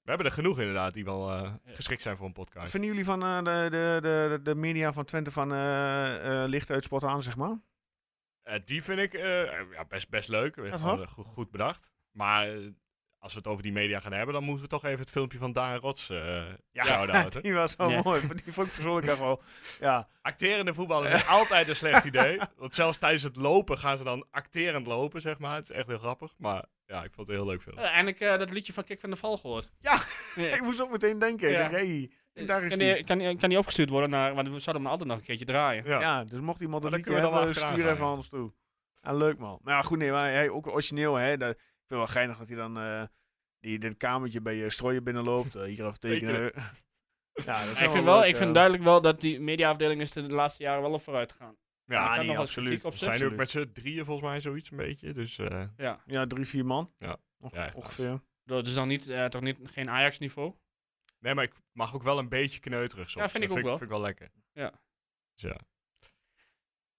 We hebben er genoeg inderdaad die wel eh, geschikt zijn voor een podcast. Vinden jullie van eh, de, de, de, de media van Twente van eh, eh, licht uit spot aan, zeg maar? Eh, die vind ik eh, ja, best, best leuk. Echt Gewoon, waar? eh, goed, goed bedacht. Maar eh, als we het over die media gaan hebben, dan moeten we toch even het filmpje van Daan Rots eh zouden houden. die was wel Ja. mooi. maar Die vond ik persoonlijk echt wel... Ja, Acterende voetballers is altijd een slecht idee. Want zelfs tijdens het lopen gaan ze dan acterend lopen, zeg maar. Het is echt heel grappig. Maar ja, ik vond het een heel leuk film. Eindelijk eh, dat liedje van Kik van de Val gehoord. Ja, Nee. ik moest ook meteen denken. Ik Ja. denk, hey, daar is kan, die. die, kan, die- kan die opgestuurd worden naar, want we zouden hem altijd nog een keertje draaien. Ja. Ja, dus mocht iemand Maar dat dan liedje kunnen we dan hebben, wel achteraan stuur gaan, even ja. aan ons toe. Ja, leuk man. Nou ja, goed, nee, maar hij, ook origineel, hè. Dat, ik vind het wel geinig dat hij dan eh die, dit kamertje bij je strooien binnenloopt. eh, hier even tekenen. ja, dat is Ik wel vind, wel, leuk, ik vind eh. duidelijk wel dat die mediaafdeling is er de laatste jaren wel op vooruit gegaan. Ja, Daar nee, kan nog wel eens absoluut. kritiek op dus. We zitten. zijn nu ook absoluut. met z'n drieën volgens mij zoiets een beetje. Dus eh, Ja. Ja, drie, vier man. Ja. Onge- Ja, echt ongeveer. Dat is dan niet, eh, toch niet, geen Ajax-niveau. nee, maar ik mag ook wel een beetje kneuterig soms. Ja, vind ik Dat ook wel. Vind ik wel lekker. Ja. Dus ja.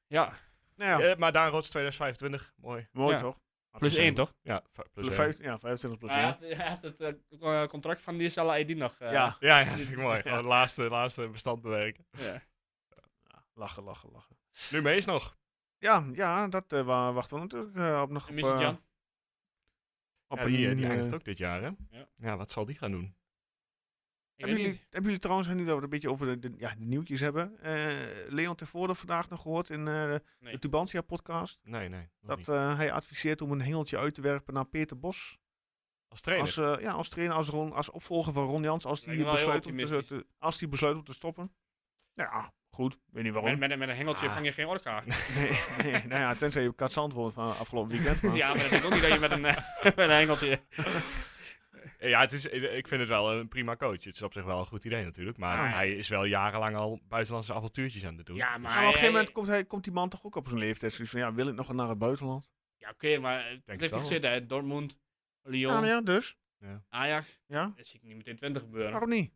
Ja, Nou ja, Eh, maar Daan Rots 2025, mooi. mooi ja. toch? plus Absoluut. één toch? Ja, v- plus Plus één. vijf- ja, 25 plus Maar Hij één. had, hij had het eh, co- eh, contract van die Salah Eddin nog. eh, Ja, Ja, ja, vind ik mooi. Ja. Gewoon het laatste, laatste bestand bewerken. ja. lachen, lachen, lachen. Nu mees nog. Ja, ja dat eh, wa- wachten we natuurlijk eh, op nog. En Op, Missy eh, Jan. op Ja, een, die, eh, die eh, eindigt ook dit jaar, hè? Ja. Ja. wat zal die gaan doen? Ik weet Hebben jullie, niet. hebben jullie trouwens, nu dat we het een beetje over de, de- ja, de nieuwtjes hebben, eh, Leon Tevoorde vandaag nog gehoord in eh, Nee. de Tubantia podcast, Nee, nee. nog dat niet. eh, hij adviseert om een hengeltje uit te werpen naar Peter Bos. Als trainer. Als, eh, ja, als trainer, als, Ron, als opvolger van Ron Jans, als Lijkt die me wel heel besluit, om te, optimistisch. te- als die besluit om te stoppen. Nou ja, goed, weet niet waarom. Met, met, een- met een hengeltje Ah. vang je geen orka. Nee, nee, nou ja, tenzij je katsant wordt van afgelopen weekend. Maar. Ja, maar dat denk ik ook niet dat je met een, eh, met een hengeltje... Eh, Ja, het is, eh, ik vind het wel een prima coach. Het is op zich wel een goed idee natuurlijk. Maar Ah, ja. hij is wel jarenlang al buitenlandse avontuurtjes aan het doen. Ja, maar... Maar op een gegeven hij- moment komt, hij, komt die man toch ook op zijn leeftijd. Zoiets van, ja, wil ik nog wel naar het buitenland? Ja, oké, maar het het heeft wel. toch zitten, hè? Dortmund, Ja, Lyon, nou ja, dus. Ajax. Ja, Dat zie ik niet meteen 20 gebeuren. waarom niet?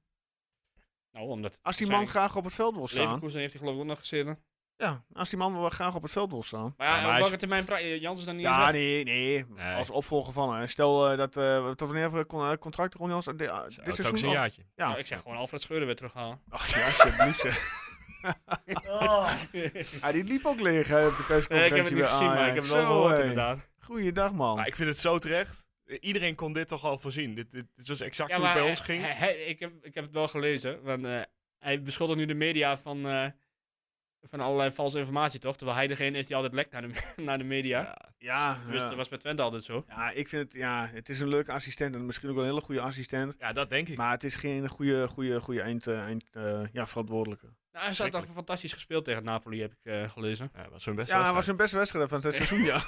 Nou, omdat... het Als die man waarschijnlijk- graag op het veld wil staan. Leverkusen heeft hij geloof ik ook nog gezeten. Ja, als die man wel graag op het veld wil staan. Maar Ja, ja, maar op hij welke termijn... pra- eh, Jans is dan niet... Ja, eens- nee, nee, Nee. Als opvolger van. hè. Stel eh, dat. eh, tot wanneer hebben we con- eh, contract Ron Jans? De- eh, Zo, dit het is ook seizoen zijn al? jaartje. Ja. Nou, ik zeg gewoon Alfred Scheuren weer terughalen. Ach, ja, alsjeblieft. zeg. Ah, die liep ook leeg hè, op de persconferentie. Nee, ik heb het niet bij gezien, maar ik Ajax. heb het wel Zo, gehoord hé. inderdaad. Goeiedag, man. Maar ik vind het zo terecht. Eh, Iedereen kon dit toch al voorzien. Dit, dit, dit was exact hoe het bij eh, ons ging. hij- hij- ik, heb, ik heb het wel gelezen. Want, eh, hij beschuldigt nu de media van, eh, van allerlei valse informatie, toch? Terwijl hij degene is die altijd lekt naar de, me- naar de media. ja, Tenminste, ja. Dat was bij Twente altijd zo. Nou, ja, ik vind het. Ja, het is een leuke assistent. En misschien ook wel een hele goede assistent. Ja, dat denk ik. Maar het is geen goede, goede, goede eind, eh, eind eh, ja, verantwoordelijke. Nou, hij had toch fantastisch gespeeld tegen Napoli, heb ik eh, gelezen. Ja, was hun best Ja, hij was een beste wedstrijd van het seizoen, ja.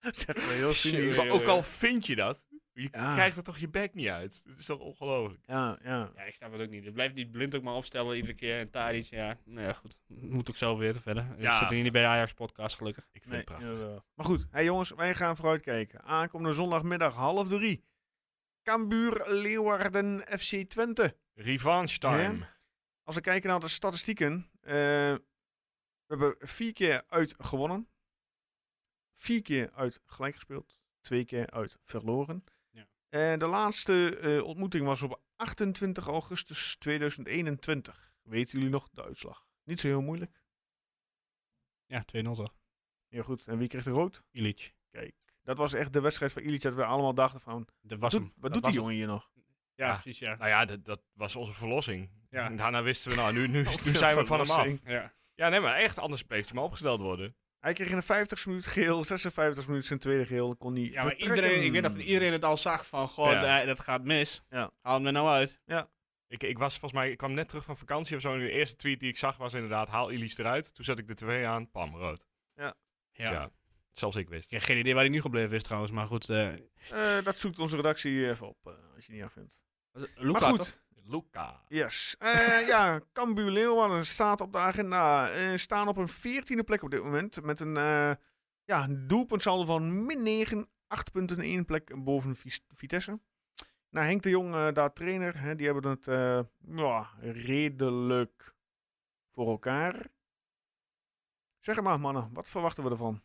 zeg maar heel cynisch. Maar ook al vind je dat, je Ja. krijgt er toch je bek niet uit. Het is toch ongelooflijk. Ja, ja. Ja, ik snap het ook niet. Blijf die blind ook maar opstellen iedere keer. En Taric, ja. Nou ja, goed. Moet ook zelf weer verder. Ja. Ik zit hier niet bij de Ajax-podcast, gelukkig. Ik vind Nee, het prachtig. inderdaad. Maar goed, hey jongens, wij gaan vooruitkijken. Aankomende zondagmiddag half drie. Cambuur Leeuwarden FC Twente. Revanche time. Als we kijken naar de statistieken. eh, we hebben vier keer uit gewonnen. Vier keer uit gelijk gespeeld. Twee keer uit verloren. Ja. En de laatste eh, ontmoeting was op 28 augustus 2021. Weten jullie nog de uitslag? Niet zo heel moeilijk. Ja, 2-0 toch? Heel goed. En wie kreeg de rood? Illich. Kijk, dat was echt de wedstrijd van Illich dat we allemaal dachten van... Dat was Doet- hem. wat Dat doet die was jongen hier nog? het. Ja, Ja. precies, ja. Nou ja, dat, dat was onze verlossing. Ja. En daarna wisten we, nou, nu, nu, nu zijn we van hem af. ja. Ja, nee, maar echt, anders bleef ze maar opgesteld worden. Hij kreeg in de 50 minuut geel, 56 minuut zijn tweede geel, kon hij Ja, maar vertrekken. iedereen, ik weet dat iedereen het al zag van, goh, Ja. eh, dat gaat mis. Ja. Haal hem er nou uit. Ik, ik was volgens mij, ik kwam net terug van vakantie of zo. En de eerste tweet die ik zag was inderdaad, haal Elise eruit. Toen zet ik de tv aan, pam, rood. Dus Ja. Zelfs ik wist. Ik heb geen idee waar hij nu gebleven is trouwens, maar goed. eh Eh, dat zoekt onze redactie even op, eh, als je het niet afvindt. Luca, maar goed, toch? Luca. yes. Eh, ja, Cambuur Leeuwarden staat op de agenda. Eh, staan op een 14e plek op dit moment, met een, eh ja, een doelpuntsaldo van min 9, 8 punten en 1 plek boven Vis- Vitesse. Nou, Henk de Jong, eh, daar trainer, hè, die hebben het eh, ja, redelijk voor elkaar. Zeg het maar, mannen, wat verwachten we ervan?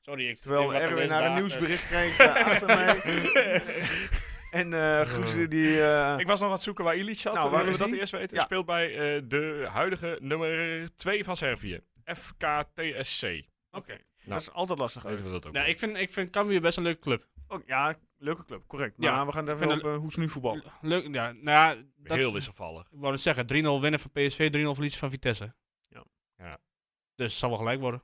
Sorry, ik Terwijl ik wat Erwin lezen naar een daar, nieuwsbericht krijgt eh, achter mij. eh. En eh Guus, die... eh, Ik was nog aan het zoeken waar Ilic zat. Nou, Nou, waar willen we is dat die? eerst weten? Ja. Speelt bij eh, de huidige nummer 2 van Servië. FKTSC. Oké. Nou. Dat is altijd lastig. Weten we dat ook? Nou, wel. ik vind, ik vind Cambuur best een leuke club. Ook, ja, leuke club, correct. Maar Ja, we gaan het even vind op eh, hoe ze nu Oh. voetballen. Leuk, ja, nou ja, dat, Heel wisselvallig. Ik wou het zeggen, 3-0 winnen van PSV, 3-0 verliezen van Vitesse. Ja. Ja. Dus het zal wel gelijk worden.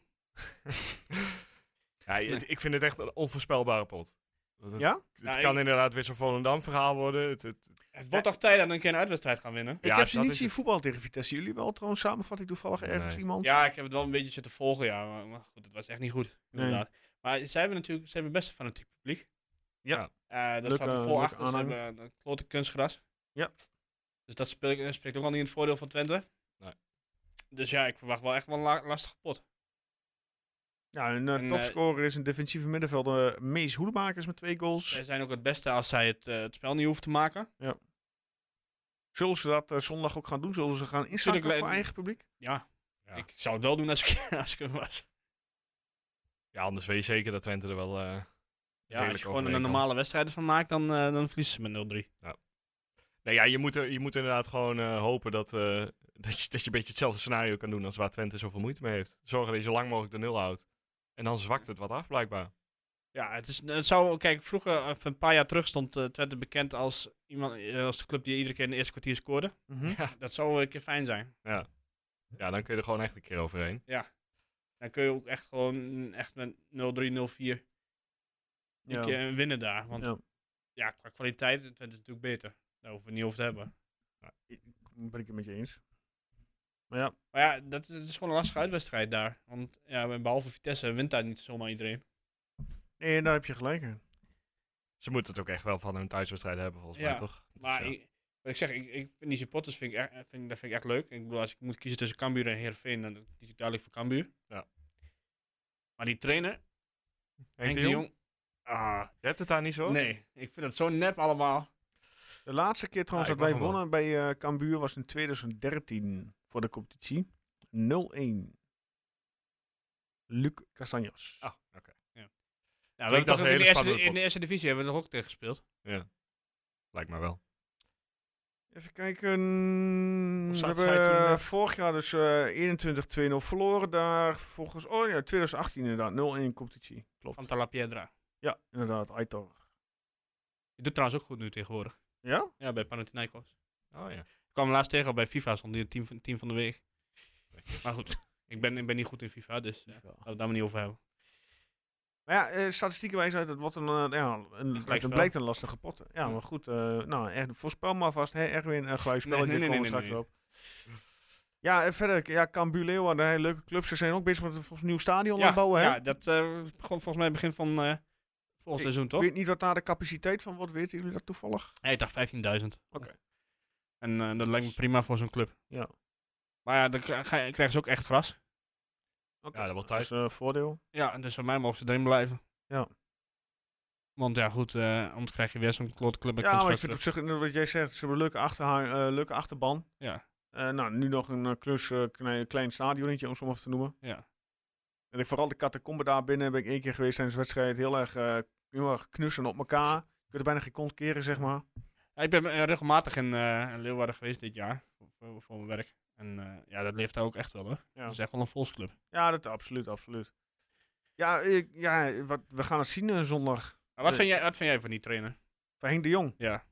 Ja, het- Ik vind het echt een onvoorspelbare pot. Want Het, Ja? het Nou, kan ik- inderdaad weer zo'n Volendam verhaal worden. Het, het, Het wordt toch tijd dat we een keer een uitwedstrijd gaan winnen? Ik Ja, heb ze dat niet is zien het. voetballen tegen Vitesse. Jullie wel trouwens samenvatting toevallig ergens Nee. iemand? Ja, ik heb het wel een beetje zitten volgen, ja. Maar, maar goed, het was echt niet goed, Nee. inderdaad. Maar zij hebben natuurlijk, ze hebben best een fanatiek publiek. Ja. Eh, dat Leuk, staat er eh, vol leuk achter. Ze aanhanger. hebben een klote kunstgras. Ja. Dus dat spreekt, eh, spreekt ook al niet in het voordeel van Twente. Nee. Dus ja, ik verwacht wel echt wel een la- lastige pot. Ja, hun eh, En, eh, topscorer is een defensieve middenvelder. eh, Mees Hoedemakers met twee goals. Zij zijn ook het beste als zij het, eh, het spel niet hoeven te maken. Zullen ze dat eh, zondag ook gaan doen? Zullen ze gaan inschakelen Tuurlijk, voor eh, eigen publiek? Ja, Ja. ik zou het wel doen als ik, als ik hem was. ja, anders weet je zeker dat Twente er wel... eh, Ja, als Redelijk je gewoon een overeen kan. normale wedstrijd van maakt, dan, eh, dan verliezen ze met 0-3. Nee, ja, je moet, er, je moet inderdaad gewoon eh, hopen dat, eh, dat, je, dat je een beetje hetzelfde scenario kan doen als waar Twente zoveel moeite mee heeft. Zorgen dat je zo lang mogelijk de nul houdt. En dan zwakt het wat af, blijkbaar. Ja, het, is, het zou, kijk, vroeger, of een paar jaar terug, stond eh, Twente bekend als, iemand, eh, als de club die iedere keer in het eerste kwartier scoorde. Mhm. Ja. Dat zou een keer fijn zijn. ja, dan kun je er gewoon echt een keer overheen. Dan kun je ook echt gewoon mm, echt met 0-3, 0-4 een Ja. keer winnen daar. eh, Want ja. Ja. qua kwaliteit, Twente is natuurlijk beter. Daar hoeven we het niet over te hebben. Ben ik het met je eens. Maar ja, Maar ja, dat is, het is gewoon een lastige uitwedstrijd daar. Want ja, behalve Vitesse wint daar niet zomaar iedereen. nee, daar heb je gelijk in. Ze moeten het ook echt wel van hun thuiswedstrijd hebben, volgens Ja, mij, toch? Dus Maar ja. ik, wat ik zeg, ik, ik vind die supporters vind ik echt, eh, vind, dat vind ik echt leuk. Ik bedoel, als ik moet kiezen tussen Cambuur en Heerenveen, dan kies ik duidelijk voor Cambuur. Ja. Maar die trainer, Henk de Jong, ah, je hebt het daar niet zo? nee, ik vind dat zo nep allemaal. De laatste keer trouwens Ja, ik dat wij wacht hem wonnen bij eh Cambuur was in 2013 voor de competitie. 0-1. Luc Castanjos. Ah, oké. Ja, Klinkt we hebben als toch een in, hele de eerste, spannende in de pot. eerste divisie hebben we toch ook tegen gespeeld. Lijkt mij wel. Even kijken. Of We zat hebben zij toen, eh, eh, vorig jaar dus eh 21-2-0 verloren. Daar volgens... Oh ja, 2018 inderdaad. 0-1 competitie. Van Klopt. Talapiedra. Ja, inderdaad. Aitor. Die doet trouwens ook goed nu tegenwoordig. Ja? Ja, bij Panathinaikos. Oh ja. Ik kwam hem laatst tegen bij FIFA, stond die team, van- team van de week. Maar goed, ik ben, ik ben niet goed in FIFA, dus eh, laten we het daar maar niet over hebben. Maar ja, eh, statistieken wijzen uit dat wat een, eh, ja, een, het gelijkspel. blijkt een lastige pot. Ja, Ja. maar goed. eh, nou, echt, voorspel maar vast. Hè, Erwin, een gelijkspelletje Nee, nee, nee, komen we nee, straks nee, op. Ja, en verder. Ja, Cambuur Leeuwarden, hè, leuke club. Ze zijn ook bezig met een volgens, nieuw stadion Ja, aanbouwen. Hè? ja, dat eh, begon volgens mij begin van eh, volgend seizoen, Ik toch? weet niet wat daar de capaciteit van wordt. Weten jullie dat toevallig? Nee, ik dacht 15.000. Oké. En eh, dat lijkt me prima voor zo'n club. Ja. Oké. Maar ja, dan kri- ga- krijgen ze ook echt gras. Ja, dat wordt Dat tijd. is een voordeel. Ja, en dus van mij mogen ze erin blijven. Ja. Want ja, goed, eh, anders krijg je weer zo'n klote club met ja, maar ik kunstgras vind op terug. zich, inderdaad wat jij zegt, ze hebben een leuke, achterha- eh, leuke achterban. Ja. Eh, nou, nu nog een eh, klus, eh, klein, klein stadionnetje om het zo maar even te noemen. Ja. En ik, vooral de catacombe daar binnen ben ik één keer geweest tijdens de wedstrijd. Heel erg, eh, heel erg knussen op elkaar. Je kunt er bijna geen kont keren, zeg maar. Ja, ik ben eh, regelmatig in, eh, in Leeuwarden geweest dit jaar. Voor, voor- voor mijn werk. En eh, ja, dat leeft daar ook echt wel hoor. Ja. Dat is echt wel een volksclub. Ja, dat absoluut, absoluut. Ja, ik, ja wat, we gaan het zien eh, zondag. Maar wat, Eh. vind jij, wat vind jij van die trainer? Van Henk de Jong. Ja.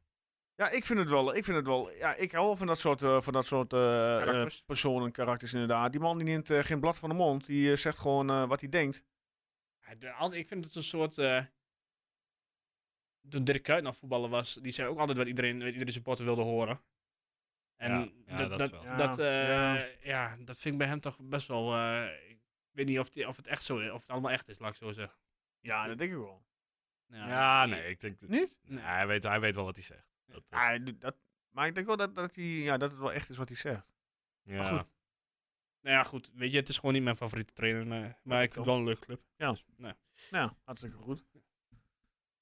Ja, ik vind het wel. Ik, vind het wel, ja, ik hou wel van dat soort, eh, van dat soort eh, Karakters. eh, personen, karakters inderdaad. Die man die neemt eh, geen blad van de mond. Die eh, zegt gewoon eh, wat hij denkt. Ja, de al- ik vind het een soort. eh, toen Dirk Kuyt nog voetballer was, die zei ook altijd wat iedereen, wat iedere supporter wilde horen. En Ja, ja, dat, dat dat, is dat, wel. Ja, eh, ja. ja. dat vind ik bij hem toch best wel. eh, ik weet niet of, die, of het echt zo is, of het allemaal echt is, laat ik zo zeggen. Ja, dat denk ik wel. Ja, nee, ik denk... Niet? Nee, hij, weet, hij weet wel wat hij zegt. Dat, dat- Ja, d- dat, maar ik denk wel dat, dat, hij, ja, dat het wel echt is wat hij zegt. ja. goed. Nou ja, goed. Weet je, het is gewoon niet mijn favoriete trainer. eh, maar ik vind het wel een leuke club. Ja. Dus, nou. Nou, hartstikke goed.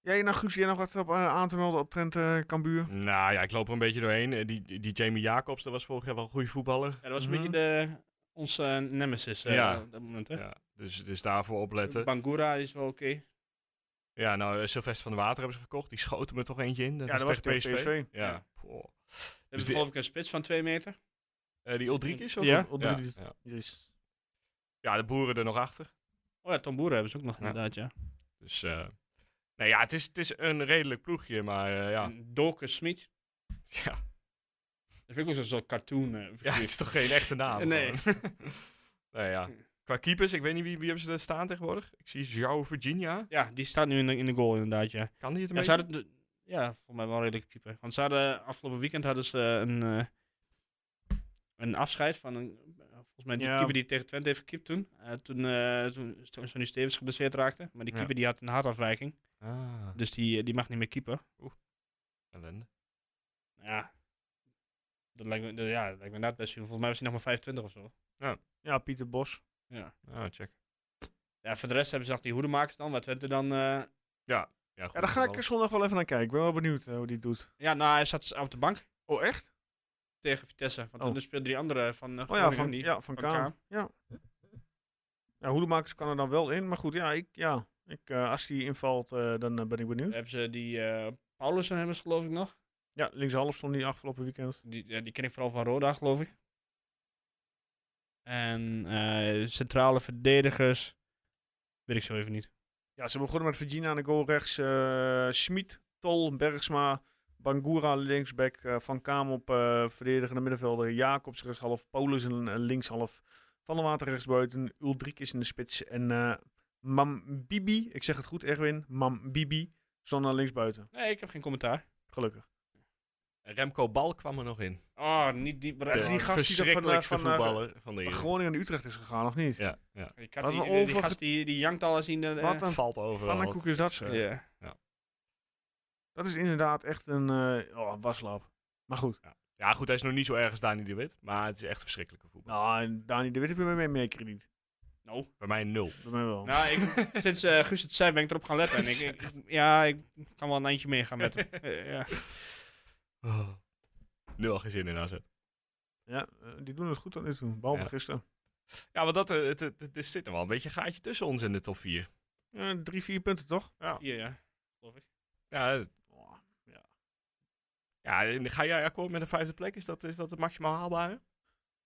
Jij, nou Guus, jij nog wat op, eh, aan te melden op Trent eh Cambuur? Nou ja, ik loop er een beetje doorheen. Eh, Die, die Jamie Jacobs, dat was vorig jaar wel een goede voetballer. Ja, dat was Mhm. een beetje de, onze eh, nemesis eh, Ja. op dat moment. Hè? eh, Ja, dus, dus daarvoor opletten. Bangura is wel oké. Ja, nou, eh, Sylvester van der Water hebben ze gekocht. Die schoten me toch eentje in. Dat Ja, was dat was tegen tegen PSV. PSV. Ja. Ja. Poh. Hebben ze die- geloof ik een spits van 2 meter. Eh, die Ulrikis? of- Ja, Ja, Ulrikis. ja. Hier is- ja, de boeren er nog achter. Oh ja, Tom Boeren hebben ze ook nog Ja. inderdaad, ja. Dus, eh nou ja, het is, het is een redelijk ploegje, maar eh, ja. En Doken Smit. ja. Dat vind ik ook zo'n soort cartoon. eh, Ja, het figuur. is toch geen echte naam? Nee. gewoon. nou ja. Qua keepers, ik weet niet wie, wie hebben ze daar staan tegenwoordig. Ik zie João Virginia. ja, die staat nu in de, in de goal inderdaad, ja. Kan die het een Ja, ze beetje? hadden de- ja, volgens mij wel een redelijke keeper. Want ze hadden afgelopen weekend hadden ze eh, een, eh, een afscheid van een, eh, volgens mij die Ja. keeper die tegen Twente heeft gekiept toen. Eh, toen, eh toen Sto- Sonny Stevens geblesseerd raakte. Maar die Ja. keeper die had een hartafwijking. Ah, Dus die, eh, die mag niet meer keeper. ellende. Ja. Dat lijkt me, dat- ja, dat lijkt me inderdaad best veel. Volgens mij was hij nog maar 25 of zo. Ja, Pieter Bos. Ja. Ah, check. ja, voor de rest hebben ze nog die hoedemakers dan. Wat Twente dan... eh, Ja, goed, Ja, daar ga ik er zondag wel even naar kijken. Ik ben wel benieuwd eh, hoe die het doet. ja, nou, hij zat op de bank Oh, echt? tegen Vitesse. Want Oh. toen speelden die andere van eh, Oh ja, Groningen, van, die, ja, van, van Kaan. Kaan. Ja. ja, hoedemakers kan er dan wel in. Maar goed, ja, ik, ja, ik, eh, als die invalt, eh, dan eh, ben ik benieuwd. hebben ze die eh Paulussen hebben ze geloof ik nog. Ja, linkshalf stond die afgelopen weekend. Die, ja, die ken ik vooral van Roda geloof ik. En eh, centrale verdedigers. Weet ik zo even niet. Ja, ze begonnen met Virginia aan de goal rechts. eh Schmid, Tol, Bergsma, Bangura linksback. eh, van Kaam op eh verdedigende middenvelder. Jacobs rechtshalf, Paulus een eh, linkshalf. Van der Water rechtsbuiten. Uldrik is in de spits. En eh Mambibi, ik zeg het goed Erwin, Mambibi, zonder linksbuiten. Nee, ik heb geen commentaar. Gelukkig. Remco Bal kwam er nog in. Oh, niet die Dat is De die gast die er van, eh, verschrikkelijkste van, eh, voetballer van de Maar Eredivisie. Groningen naar Utrecht is gegaan, of niet? Ja, ja. Die, kat Wat die, een die, die overge- gast die, die jankt al eens in de... eh, Wat een Valt overal. pannenkoek is dat, Ja. zeg. ja. Dat is inderdaad echt een eh oh, waslap. Maar goed. Ja, goed, hij is nog niet zo erg als Dani de Wit, maar het is echt verschrikkelijke voetbal. Nou, en Dani de Witte heeft bij mij meer krediet. Nou, Oh. Bij mij nul. Bij mij wel. nou ik, sinds eh Guus het zei ben ik erop gaan letten. En ik, ik- ik- ja, ik kan wel een eindje meegaan met hem. Eh, ja. Oh. Nu al geen zin in AZ. Ja, eh, die doen het goed tot nu toe. Behalve Ja. gisteren. Ja, want dat, eh, het, het, het- er zit er wel een beetje een gaatje tussen ons in de top 4. Eh, drie, vier punten toch? Hier, ja. Geloof ik. Ja, het- Oh, ja, en ga jij akkoord met een vijfde plek? Is dat, is dat het maximaal haalbare?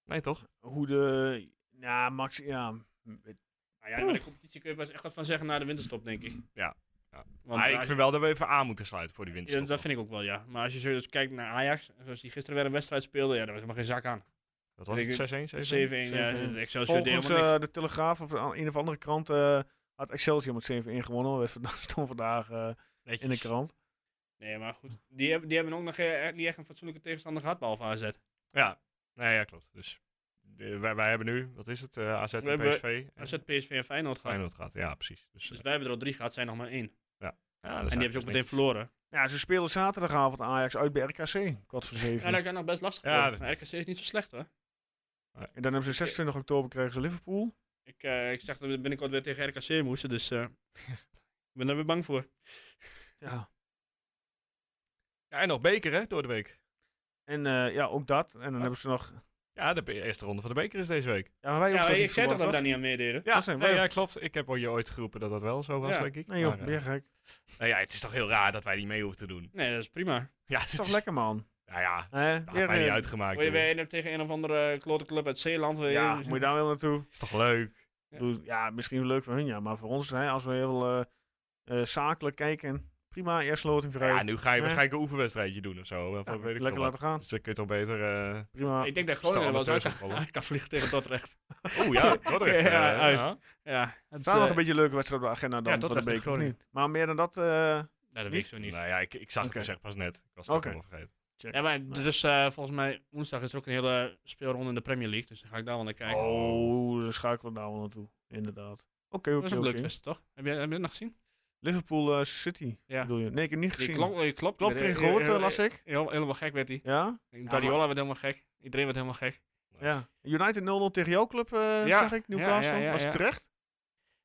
Nee, toch? Hoe de... Ja, Max... Ja. Nou ja, maar de competitie kun je best echt wat van zeggen na de winterstop, denk ik. Ja, ja. Want maar ik als- vind wel dat we even aan moeten sluiten voor die winst. Ja, dat vind ik ook wel, ja. Maar als je zo eens kijkt naar Ajax, zoals die gisteren weer een wedstrijd speelde, ja, daar was helemaal geen zak aan. 7-1, dat was ik- het 6-1, 7-1? ja, 7-1. het Excelsior deed Volgens helemaal niks. eh, de Telegraaf of aan een of andere krant eh, had Excelsior met 7-1 gewonnen. Dat werd- stond vandaag eh, in de Netjes. krant. Nee, maar goed. Die hebben, die hebben ook nog eh, niet echt een fatsoenlijke tegenstander gehad, behalve AZ. Ja, nee, ja, klopt. Dus eh, wij, wij hebben nu, wat is het, eh, AZ en We hebben PSV? en AZ, PSV en Feyenoord gehad. Feyenoord gaat, ja, precies. Dus, eh, Dus wij hebben er al drie gehad, zijn nog maar één. ja, dat en die zijn hebben ze ook dus meteen netjes. verloren. Ja, ze spelen zaterdagavond Ajax uit bij RKC. Kwart voor Ja, zeven. dat kan nog best lastig Ja, worden. dat- Maar RKC is niet zo slecht, hoor. en dan hebben ze 26 oktober krijgen ze Liverpool. Ik, eh, ik zeg dat we binnenkort weer tegen RKC moesten, dus eh, ik ben daar weer bang voor. Ja. Ja, en nog beker, hè, door de week. En eh, ja, ook dat. En dan hebben ze nog... Ja, de be- eerste ronde van de beker is deze week. Ja, maar wij Ja, hoeven dat ik niet zei toch dat verwacht, we daar niet aan meededen? Ja, Dat zijn nee, wij. ja, klopt. Ik heb al je ooit geroepen dat dat wel zo was, Ah, Ja. denk ik. Nee joh, Maar, eh, ben je gek. nou ja, het is toch heel raar dat wij niet mee hoeven te doen. Nee, dat is prima. Ja, is dit toch is- lekker man. Nou ja, Hè? dat Weer, had mij niet eh, uitgemaakt. Word je joh. weer een- tegen een of andere klote club uit Zeeland? wil je- Ja, moet je daar wel naartoe. Is toch leuk? Ik bedoel, Ja, misschien leuk voor hun, ja. Maar voor ons, hè, als we heel eh, eh, zakelijk kijken, prima, eerst loting vrij. Ja, nu ga je Nee. waarschijnlijk een oefenwedstrijdje doen of zo. Of Ja, weet ik lekker veel wat. laten gaan. Dus dan kun je toch beter... Oh, eh Prima. Ik denk dat Stel Groningen wel eens uit amateurs kan, voetballen. uit kan vliegen tegen Dordrecht. Oeh ja, Dordrecht. Ja, eh, uit. ja. Ja, het, Staan nog eh, een beetje leuke wedstrijden op de agenda dan ja, dat voor de was de beker, of Groningen. niet? Maar meer dan dat, eh, nou, dat weet ik zo niet. Nou ja, ik, ik zag Oké. het zeg pas net. Ik was het ook Oké. helemaal vergeten. Ja, maar dus eh, volgens mij woensdag is er ook een hele speelronde in de Premier League. Dus dan ga ik daar wel naar kijken. oh, dan schakelen we daar wel naartoe. Inderdaad. Oké, dat is oké, ook oké. leuk geweest, toch? Heb je, heb je dat nog gezien? Liverpool eh, City, Ja. bedoel je? Nee, ik heb niet Die gezien. klok, die klop, Klopt, die kreeg werd- gehoord, eh, heel- las ik. heel- helemaal gek werd hij. Ja? Guardiola werd helemaal gek. Iedereen werd helemaal gek. ja. United 0-0 tegen jouw club, eh, Ja, zag ik, ja, Newcastle. ja, ja, was ja. het terecht?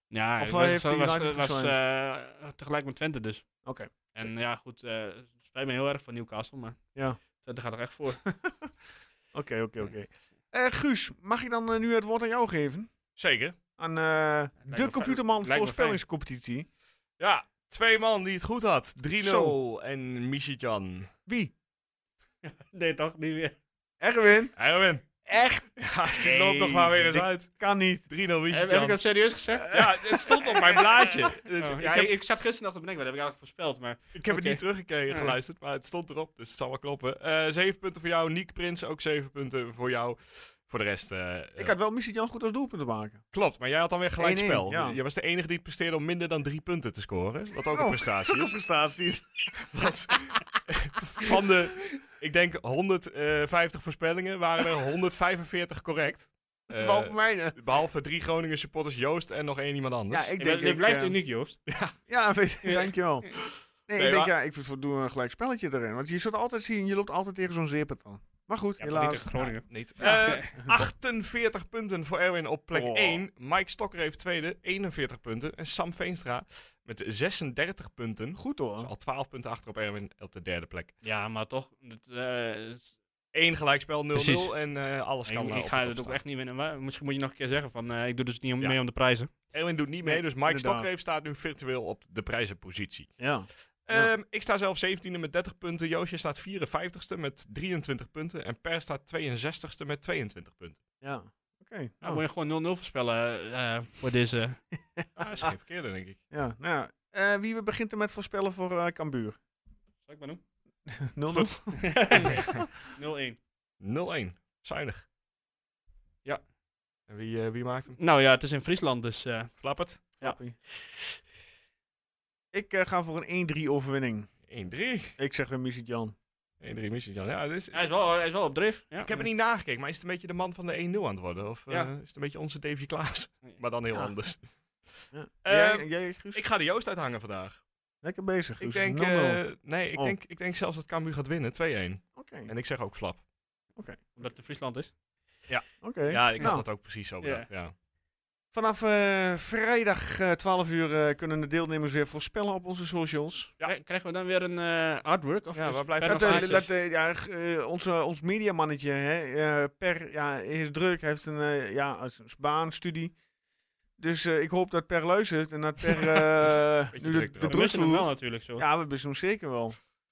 Ja, Of het heeft was, United was, het was, gezwaaid? eh, tegelijk met Twente dus. Oké. En ja, goed, eh, het spijt me heel erg van Newcastle, maar Ja. Twente gaat er echt voor. Oké, oké, oké. Eh, Guus, mag je dan eh, nu het woord aan jou geven? Zeker. Aan eh, me de fijn. computerman Lijkt me voorspellingscompetitie. Ja, Twee man die het goed had. 3-0 Zo. en Michitjan. Wie? Nee, toch? Niet meer. Erwin? Erwin. Echt? Ja, die Nee, loopt nog maar weer eens dit uit. 3-0 Kan niet. Heb, heb ik Michitjan. dat serieus gezegd? Ja, het stond op mijn blaadje. Dus Oh, ik, ja, heb, ik, ik zat gisteren nog te bedenken, wat heb ik eigenlijk voorspeld. Maar ik heb het oké. niet teruggekeken Ja. geluisterd, maar het stond erop. Dus het zal wel kloppen. Eh, zeven punten voor jou. Niek Prins ook zeven punten voor jou. Voor de rest... eh, Ik eh, had wel Missie Jan goed als doelpunt te maken. Klopt, maar jij had dan weer gelijkspel. 1-1, ja. Je was de enige die het presteerde om minder dan drie punten te scoren. Wat ook een Oh, prestatie is. prestatie. Want van de, ik denk, 150 voorspellingen waren er 145 correct. Eh, Boven mij. hè? behalve drie Groningen supporters Joost en nog één iemand anders. Ja, ik je, denk... bent- je ik, blijft eh, uniek, Joost. Ja, weet- dankjewel. Nee, ik denk maar- ja, ik vind, doe een gelijk spelletje erin. Want je zult altijd zien, je loopt altijd tegen zo'n zeepert aan. Maar goed, Ja, maar niet helaas. tegen Groningen. Niet. Eh, 48 punten voor Erwin op plek Oh. 1. Mike Stokker heeft tweede, 41 punten. En Sam Veenstra met 36 punten. Goed Dus hoor. al 12 punten achter op Erwin op de derde plek. Ja, maar toch. Het, eh, het- Eén gelijkspel, 0-0 Precies. en eh, alles ik, kan ik daarop ga het ook opstaan. echt niet winnen. Maar misschien moet je nog een keer zeggen van, eh, ik doe dus niet om, Ja. mee om de prijzen. Erwin doet niet mee, Nee, dus Mike inderdaad. Stokker heeft staat nu virtueel op de prijzenpositie. Ja. Ja. Ehm, ik sta zelf 17e met 30 punten. Joosje staat 54ste met 23 punten. En Per staat 62ste met 22 punten. Ja. Oké. Dan nou, moet je gewoon 0-0 voorspellen eh, eh, voor deze. Ah, dat is geen verkeerde, denk ik. ja. Nou, ja. Eh, wie we begint er met voorspellen voor eh Cambuur? Zal ik maar doen? 0 Goed. 0-1. 0-1. Zuinig. Ja. En wie, eh, wie maakt hem? Nou ja, het is in Friesland, dus... eh, Flappert. Ik eh, ga voor een 1-3 overwinning. 1-3. Ik zeg weer Missie Jan. 1-3 missie. Jan. Ja, dit is, hij, is wel, hij is wel op dreef. Ja. ik heb er niet nagekeken, maar is het een beetje de man van de 1-0 aan het worden? Of eh, Ja. is het een beetje onze Davy Klaas? Nee. Maar dan heel Ja. anders. Ja. Ehm, jij, jij, Guus? Ik ga de Joost uithangen vandaag. Lekker bezig, Ik Guus. Nou, denk, 0-0. eh, nee, ik, Oh. denk, ik denk zelfs dat Cambuur gaat winnen, 2-1. Oké. En ik zeg ook flap. Omdat het in Friesland is. Oké. Ja, ik Nou. had dat ook precies zo bedacht. Ja. Vanaf eh, vrijdag eh, 12 uur eh, kunnen de deelnemers weer voorspellen op onze socials. Ja. Krij- Krijgen we dan weer een eh artwork? Of Ja, is waar blijft per Dat, het? nog eh, steeds. dat, eh, ja, g- eh, onze, ons mediamannetje, hè, eh, Per, ja, hij is druk, hij heeft een eh, ja, als- als baan, studie. Dus eh, ik hoop dat Per luistert en dat Per eh, Beetje nu de, druk de erop. We druk missen hem wel voelt. natuurlijk zo. Ja, we missen hem zeker wel.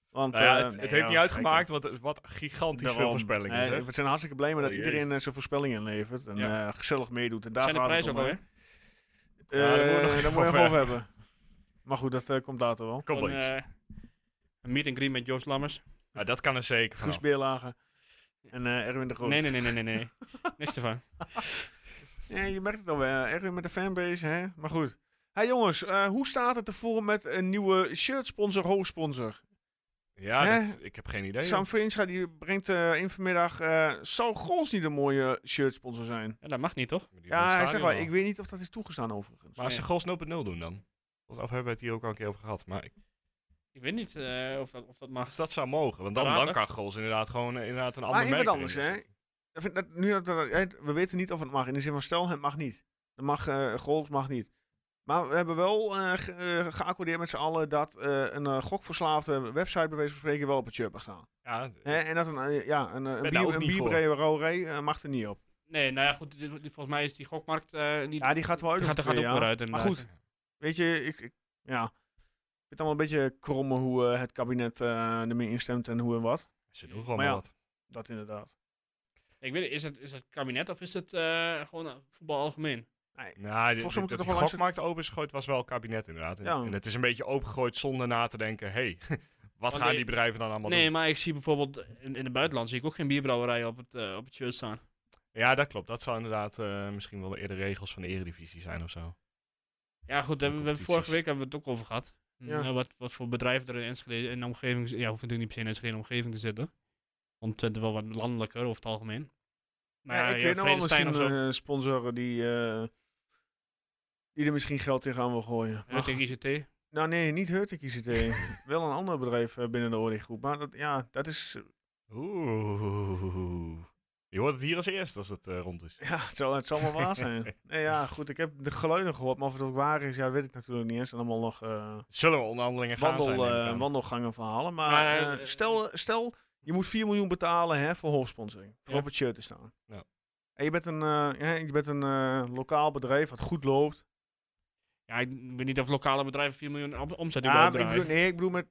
Want, Nou ja, eh, het het nee, heeft ja, niet uitgemaakt, kijk, want het- wat gigantisch daarom. veel voorspellingen. Nee, zeg. we zijn hartstikke blij met dat Oh, jee. iedereen eh, zijn voorspellingen levert en Ja. eh, gezellig meedoet. En daar Zijn de gaat het prijzen ook om, alweer? hè. Ja, daar moeten we nog Eh, even daar moet je over even over hebben. Maar goed, dat eh, komt later wel. Kom Van, wel iets. eh, een meet and greet met Joost Lammers. Nou, dat kan er zeker Guus vanaf. Beerlagen en eh, Erwin de Groot. Nee, nee, nee, nee, nee. nee. Niks ervan. Ja, je merkt het al wel. eh, Erwin met de fanbase, hè? Maar goed. Hey jongens, eh, hoe staat het ervoor met een nieuwe shirtsponsor, hoofdsponsor? Ja, Hè? dat, ik heb geen idee. Sam Veenstra die brengt eh, in vanmiddag... eh zou Gols niet een mooie shirtsponsor zijn? Ja, dat mag niet, toch? joh. Die Ja, stadion hij zegt wel. al. Ik weet niet of dat is toegestaan overigens. Maar als ze goals 0.0 doen dan? Of hebben we het hier ook al een keer over gehad. Maar ik- Ik weet niet eh, of, dat, of dat mag. als dat zou mogen, want dan, Later. dan kan goals inderdaad gewoon eh, inderdaad een Maar ander even merk wat erin anders, hè? zetten. Ik vind dat, nu dat, we dat- hè, we weten niet of het mag. In de zin van, stel, het mag niet. Het mag, eh, Goals mag niet. Maar we hebben wel eh, ge- eh, geaccordeerd met z'n allen dat eh, een eh, gokverslaafde website, bij wijze van spreken, wel op het shirt mag staan. Ja, Hè, en dat een, eh, ja, een, eh, een, daar bier, ook een niet voor. bierbrouwerij eh, mag er niet op. Nee, nou ja, goed. dit- dit- volgens mij is die gokmarkt... eh die, Ja, die gaat wel uit. die gaat er over gaat twee ook weer jaar. uit. eh, Maar inderdaad. goed, weet je, ik, ik, ja, ik vind het allemaal een beetje kromme hoe eh, het kabinet eh ermee instemt en hoe en wat. ze doen gewoon Maar maar ja. wat. Dat inderdaad. Ik weet niet, is het, is het kabinet of is het eh, gewoon eh, voetbal algemeen? Nou, Volgens dit- mij dit- moet dat het die toch wel langs- gokmarkt open is gegooid was wel het kabinet inderdaad. En, Ja. en het is een beetje opengegooid zonder na te denken, hé, hey, wat Oh, gaan nee. die bedrijven dan allemaal nee, doen? maar ik zie bijvoorbeeld in, in het buitenland zie ik ook geen bierbrouwerij op het, eh, op het shirt staan. Ja, dat klopt. Dat zou inderdaad eh, misschien wel eerder regels van de eredivisie zijn of zo. Ja, goed, daar hebben we hebben competities. vorige week hebben we het ook over gehad. Ja. Nou, wat, wat voor bedrijven er in Enschede in de omgeving zi- Ja, hoeft natuurlijk niet per se in Enschede omgeving te zitten. Want Twente wel wat landelijker over het algemeen. Maar ja, Ja, ik ja, weet nog wel Vredestein misschien of zo. een eh, sponsor die, eh, die er misschien geld tegenaan wil gooien. Maar Ja, eh, tegen ICT. Nou nee, niet Hurtig ICT. Wel een ander bedrijf eh, binnen de Oording-groep. Maar dat, ja, dat is... eh, Oeh. Je hoort het hier als eerst als het eh, rond is. ja, het zal, het zal wel waar zijn. Nee, ja, goed. Ik heb de geluiden gehoord. Maar of het ook waar is, ja, dat weet ik natuurlijk niet. eens. zijn allemaal nog eh, Zullen we onderhandelingen gaan wandel, zijn? neem ik eh, aan. wandelgangen verhalen. Maar Maar, eh, eh, stel, stel, je moet 4 miljoen betalen hè, voor hoofdsponsoring. Voor Ja. op het shirt te staan. Ja. En je bent een, eh, ja, je bent een eh, lokaal bedrijf wat goed loopt. Ja, ik weet niet of lokale bedrijven 4 miljoen om- omzet Ja, überhaupt maar ik bedoel, draaien. nee, ik bedoel met,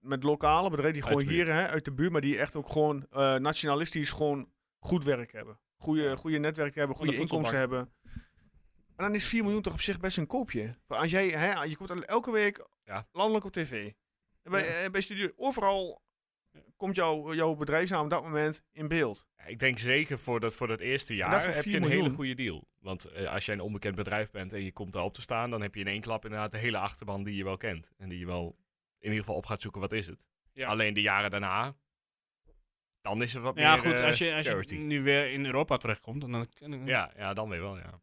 met lokale bedrijven die Uit de gewoon hier hè, uit de buurt, maar die echt ook gewoon eh, nationalistisch gewoon goed werk hebben. Goede, goede netwerken hebben, Van de goede inkomsten hebben. En dan is 4 miljoen toch op zich best een koopje. Voor Als jij, hè, je komt el- elke week Ja. landelijk op tv. En bij, Ja. eh, bij Studio, overal komt jouw, jouw bedrijfsnaam op dat moment in beeld. Ja, ik denk zeker voor dat, voor dat eerste dat jaar voor heb je 4 een hele miljoen. goede deal. Want eh, als jij een onbekend bedrijf bent en je komt daarop te staan, dan heb je in één klap inderdaad de hele achterban die je wel kent. En die je wel in ieder geval op gaat zoeken, wat is het? Ja. Alleen de jaren daarna, dan is er wat Ja, meer goed, eh, als je, Mm. als je charity. nu weer in Europa terechtkomt, dan... dan Ja, ja, dan weer wel, ja.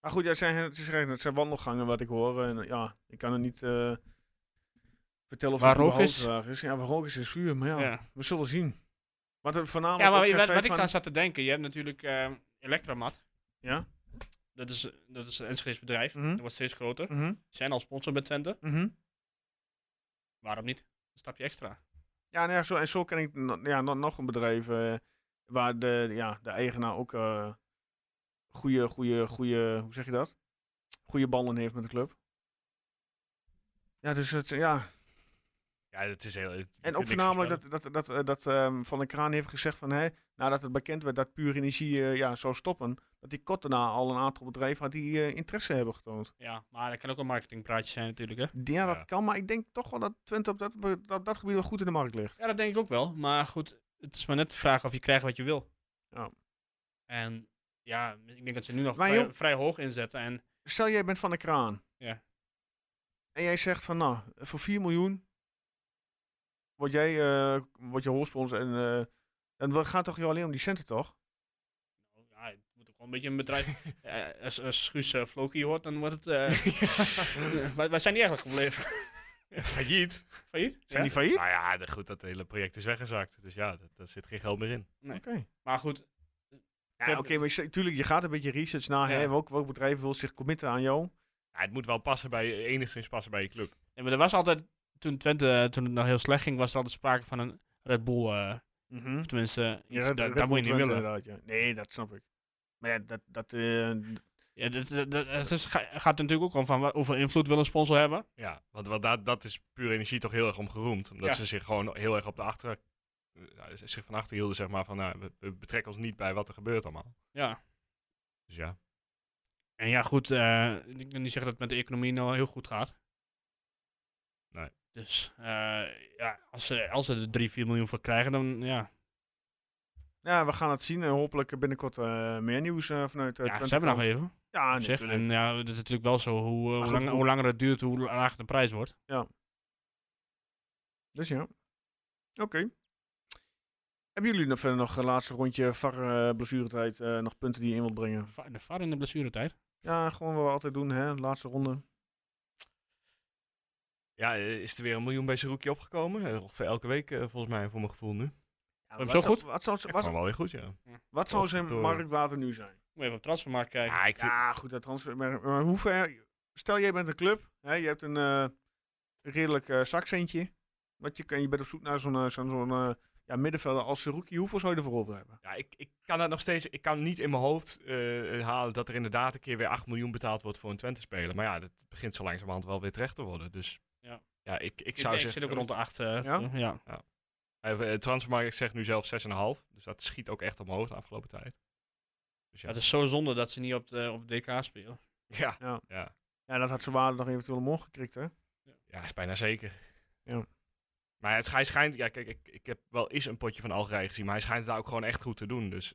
Maar goed, ja, het, zijn, het, is eigenlijk- het zijn wandelgangen wat ik hoor. En, eh, ja, ik kan er niet eh, vertellen of Waar het rook überhaupt is? waar is. Ja, waar rook is, is vuur, maar ja. ja. We zullen zien. Wat er voornamelijk Ja, maar ook het wat, feit wat ik van- aan zat te denken, je hebt natuurlijk eh Electramat. Ja? Dat is, dat is een Enschede's bedrijf. Mhm. Dat wordt steeds groter. Ze Mhm, zijn al sponsor bij Twente. mhm. Waarom niet? Een stapje extra. Ja, nou ja, zo, en zo ken ik no- ja, no- nog een bedrijf eh, waar de, ja, de eigenaar ook eh goede, goede, goede, hoe zeg je dat? Goede banden heeft met de club. Ja, dus het, ja. Ja, het is heel... het- je En kunt ook niks voornamelijk dat, voorspellen. dat, dat, eh, dat ehm, Van der Kraan heeft gezegd van, hè, nadat het bekend werd dat Puur Energie eh, ja, zou stoppen, dat die kort daarna al een aantal bedrijven had die eh, interesse hebben getoond. Ja, maar dat kan ook een marketingpraatje zijn natuurlijk, hè. Ja, dat Ja. kan, maar ik denk toch wel dat Twente op dat, be- dat, dat gebied wel goed in de markt ligt. Ja, dat denk ik ook wel. Maar goed, het is maar net de vraag of je krijgt wat je wil. Ja. En ja, ik denk dat ze nu nog Maar vrij, joh- vrij hoog inzetten. En Stel jij bent van de kraan. Ja. En jij zegt van nou, voor 4 miljoen word jij eh word je hoofdsponsor en eh dan wa- gaat toch je alleen om die centen toch? ja, het moet ook wel een beetje een bedrijf... Eh, als, als Guus eh, Floki hoort, dan wordt het... eh, eh, waar, waar zijn die eigenlijk gebleven? Failliet. Failliet? Zijn Ja? Ah, die failliet? Nou ja, de- goed, dat hele project is weggezakt. Dus ja, dat- daar zit geen geld meer in. Oké. Maar goed, Ja, oké, maar je zegt- tuurlijk, je gaat een beetje research naar hè, Ja. welk, welk bedrijf wil zich committen aan jou. Ja, het moet wel passen bij, enigszins passen bij je club. nee, maar er was altijd... Toen Twente, eh, toen het nog heel slecht ging, was er altijd sprake van een Red Bull... eh, Mhm. of tenminste, iets, Ja, dat- dat, dat dat moet je moet niet Twente willen. inderdaad, ja. Nee, dat snap ik. Maar ja, dat, dat, eh, Ja, dat, dat, dat- het is- ga- gaat er natuurlijk ook om van wa- hoeveel invloed wil een sponsor hebben. Ja, want, want dat, dat is puur energie toch heel erg om geroemd. Omdat Ja. ze zich gewoon heel erg op de achter... ja, ze- zich van achter hielden, zeg maar, van nou, we, we betrekken ons niet bij wat er gebeurt allemaal. Ja. Dus ja. En ja, goed, eh, ik kan niet zeggen dat het met de economie nou heel goed gaat. Nee. Dus eh, ja, als ze, als ze er 3, 4 miljoen voor krijgen, dan ja. ja, we gaan het zien en hopelijk binnenkort eh, meer nieuws eh, vanuit eh, ja Twente. ze hebben nog kant. even. op Ja, Ah, zich. natuurlijk. En ja, dat is natuurlijk wel zo. Hoe, eh, hoe, goed, lang, hoe- hoe langer het duurt, hoe lager de prijs wordt. Dus ja. Oké. Hebben jullie nog verder nog een laatste rondje VAR eh blessuretijd eh, nog punten die je in wilt brengen? Va- De VAR in de blessuretijd. Ja, gewoon wat we altijd doen, hè? Laatste ronde. Ja, eh, is er weer een miljoen bij Zeroekje opgekomen? Eh, Ongeveer elke week, eh, volgens mij, voor mijn gevoel nu. hem wat zo zou- goed? Wat zou, Ik wat, vond hem wel weer goed, ja. wat zou Tot- zijn door. marktwaarde nu zijn? Moet even op transfermarkt kijken. Ja, ik vind- Ja, goed, dat transfer. Maar, maar hoe ver. Stel, jij bent een club, hè? Je hebt een eh, redelijk eh, zakcentje. Wat je, kan, je bent op zoek naar zo'n eh, zo'n zo'n, eh, ja, middenvelder als Seruki. Hoeveel zou je ervoor over hebben? Ja, ik, ik kan dat nog steeds. Ik kan niet in mijn hoofd eh, halen dat er inderdaad een keer weer 8 miljoen betaald wordt voor een Twente-speler. Maar ja, dat begint zo langzamerhand wel weer terecht te worden. Dus Ja. ja, ik, ik ik, zou ik zeggen. zit ook rond de 8. ja? Ja? ja. Eh, eh, Transfermarkt zegt nu zelf 6,5. Dus dat schiet ook echt omhoog de afgelopen tijd. Dus ja, Het is zo zonde dat ze niet op, de, op DK spelen. ja, Ja. ja, Ja, dat had zijn waarde nog eventueel omhoog gekrikt, hè? ja, is bijna zeker. Ja. Maar het, hij schijnt. Ja, kijk, ik, ik heb wel eens een potje van Algerije gezien. Maar hij schijnt het daar ook gewoon echt goed te doen. Dus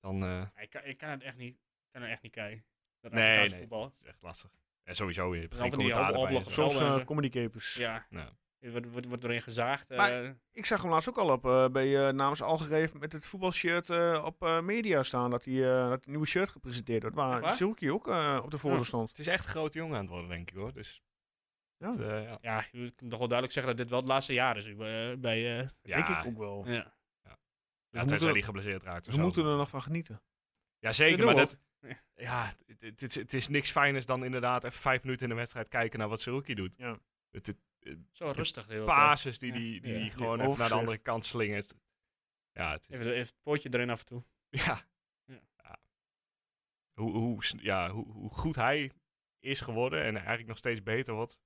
dan. eh, Ik kan, ik kan het echt niet, ik kan het echt niet kijken. Dat Nee, Argentijnse nee. voetbal. het is echt lastig. En sowieso. Je hebt Dan geen van die commentaar hoop- erbij en oplossen. zo. Zoals eh Geweldig. comedy capers. Ja. Ja. Er wordt, wordt, wordt erin gezaagd. eh, Maar- Ik zag hem laatst ook al op, eh, bij, eh, namens Algereef met het voetbalshirt eh, op eh, media staan. Dat, die, eh, dat het nieuwe shirt gepresenteerd wordt. Echt Waar waar? Silky ook eh, op de voorzorg stond. Het is echt een grote jongen aan het worden, denk ik hoor. Dus. Ja. dat, eh, ja. Ja, je kunt toch wel duidelijk zeggen dat dit wel het laatste jaar is. eh, bij, eh, Denk ik ook wel. ja. Ja, we tenzij moeten- die geblesseerd raakt. of Ze zo. moeten er nog van genieten. Ja, Dat zeker. doen Maar we dat, ook. ja, het, het, is- het is niks fijners dan inderdaad even vijf minuten in de wedstrijd kijken naar wat Zerouki doet. Ja. Het, het Zo rustig de hele tijd. basis die Ja. die, die, Ja. die Die gewoon even naar de overzicht. andere kant slingert. Ja, het is, Even, even het pootje erin af en toe. ja. Ja. Ja. Hoe, hoe, s- ja, hoe, hoe goed hij is geworden en eigenlijk nog steeds beter wordt,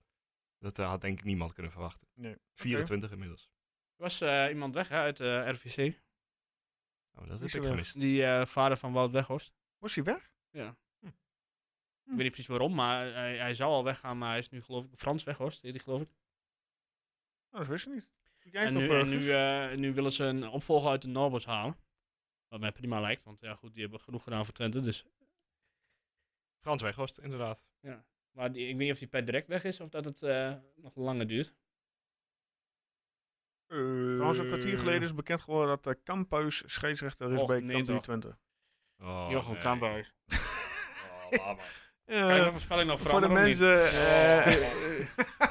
dat eh, had denk ik niemand kunnen verwachten. Nee. 24 inmiddels. Er was eh, iemand weg hè, uit eh RVC. Oh, Is dat heb er ik wel- gemist. Die eh, vader van Wout Weghorst. Was hij weg? Hm. Ik weet niet precies waarom, maar hij, hij zou al weggaan, maar hij is nu geloof ik Frans Weghorst, heet hij geloof ik. Nou, dat wist ik niet. Ik En nu, en nu, eh, nu willen ze een opvolger uit de Norbos halen. Wat mij prima lijkt, want ja goed, die hebben genoeg gedaan voor Twente. Dus. Frans Weghorst, inderdaad. Maar die, ik weet niet of die per direct weg is of dat het eh, nog langer duurt. Trouwens, een kwartier geleden is bekend geworden dat eh Kampuis scheidsrechter is Och, bij nee Cambuur toch. Twente. Oh, Jochem nee. Kaanbuis. Oh, laat maar. Kan je Eh, de voorspelling nog voor de veranderen of niet? mensen... eh, Oh.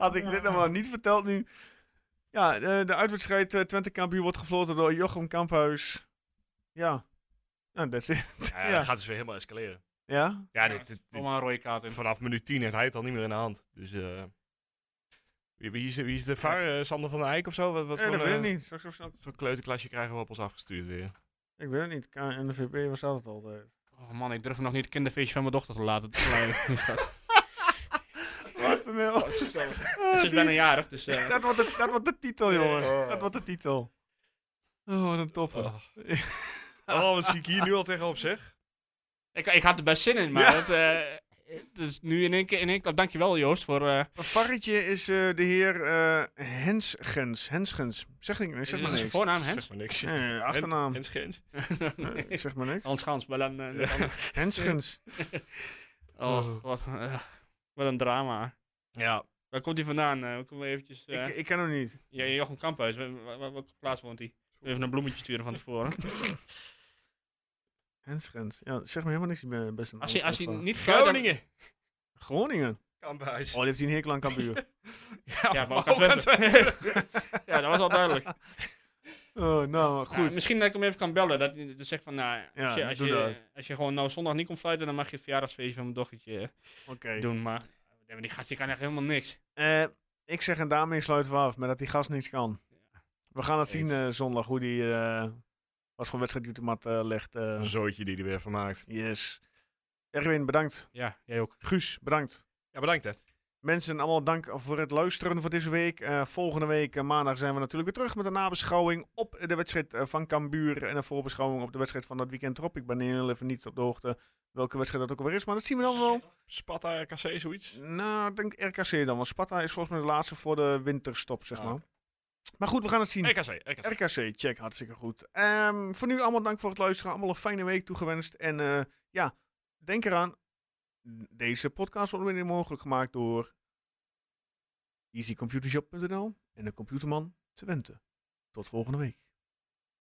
had ik dit nou maar niet verteld nu. Ja, eh, de uitwedstrijd eh, Twente Cambuur wordt gefloten door Jochem Kamphuis. Ja. Nou, that's it. Ja, Ja. Dat gaat dus weer helemaal escaleren. Ja? Ja, dit, dit- dit- Kom maar een rode kaart in. vanaf minuut 10 heeft hij het al niet meer in de hand. Dus eh, wie, wie is, de- wie is de VAR? eh, Sander van der Eyck of zo? Wat, wat Eh, voor, dat weet ik eh, niet. Straks- straks- voor kleuterklasje krijgen we op ons afgestuurd weer? Ik weet het niet. KNVB, waar staat het altijd? Oh man, ik durf nog niet het kinderfeestje van mijn dochter te laten. het Wat een hel. is dus bijna jarig, dus... eh, Dat wordt de, dat wordt de titel, jongen. Dat wordt de titel. Oh, wat een topper. Oh. Oh, wat zie ik hier nu al tegenop zeg? ik, ik had er best zin in, maar dat... eh, dus nu in één keer, in één klap, dankjewel Joost voor... eh Een varretje is eh, de heer eh Hensgens. Hensgens. Zeg, ik, zeg is maar zijn niks. voornaam, Hens? Zeg maar niks. Nee, nee, achternaam. Hens Gens. Nee, zeg maar niks. Hans Gans, maar dan... eh, dat andere- Hensgens. oh god, eh, wat een drama. Ja, Waar komt hij vandaan? eh kunnen we eventjes... eh, Ik, ik ken hem niet. ja, Jochem Kamphuis, waar, waar- waar- welke plaats woont hij? Even een bloemetje sturen van tevoren. Hensgens. Ja, zeg me helemaal niks. Ik ben best een Als hij, als hij antwoord niet fluit, dan- Groningen. van- Groningen. Kamphuis. Oh, die heeft hij een hekel aan Cambuur. Ja, maar ook maar aan Twente. ja, dat was al duidelijk. oh, nou, goed. Nou, misschien dat ik hem even kan bellen. Dat hij dus zegt van, nou, Ja, als, je, als, doe je, dat. als je gewoon nou zondag niet komt fluiten, dan mag je het verjaardagsfeestje van mijn dochtertje eh, Oké. doen. Maar ja, maar die gast die kan echt helemaal niks. Eh, ik zeg en daarmee sluiten we af, maar dat die gast niks kan. We gaan het zien Eens. eh, zondag, hoe die eh wat voor wedstrijd die op de mat eh, legt. eh. Een zooitje die hij weer van maakt. yes. Erwin, bedankt. Ja, jij ook. Guus, bedankt. Ja, bedankt hè. Mensen, allemaal dank voor het luisteren voor deze week. Eh, volgende week, eh, maandag, zijn we natuurlijk weer terug met een nabeschouwing op de wedstrijd eh, van Cambuur. En een voorbeschouwing op de wedstrijd van dat weekend erop. Ik ben heel even niet op de hoogte welke wedstrijd dat ook weer is, maar dat zien we dan wel. Sparta RKC, zoiets. Nou, ik denk RKC dan, want Sparta is volgens mij de laatste voor de winterstop, zeg Ah, maar. oké. Maar goed, we gaan het zien. RKC, RKC. RKC, check, hartstikke goed. Ehm, voor nu allemaal dank voor het luisteren. Allemaal een fijne week toegewenst. En eh, ja, denk eraan. Deze podcast wordt mede mogelijk gemaakt door easycomputershop.nl en de Computerman Twente. Tot volgende week.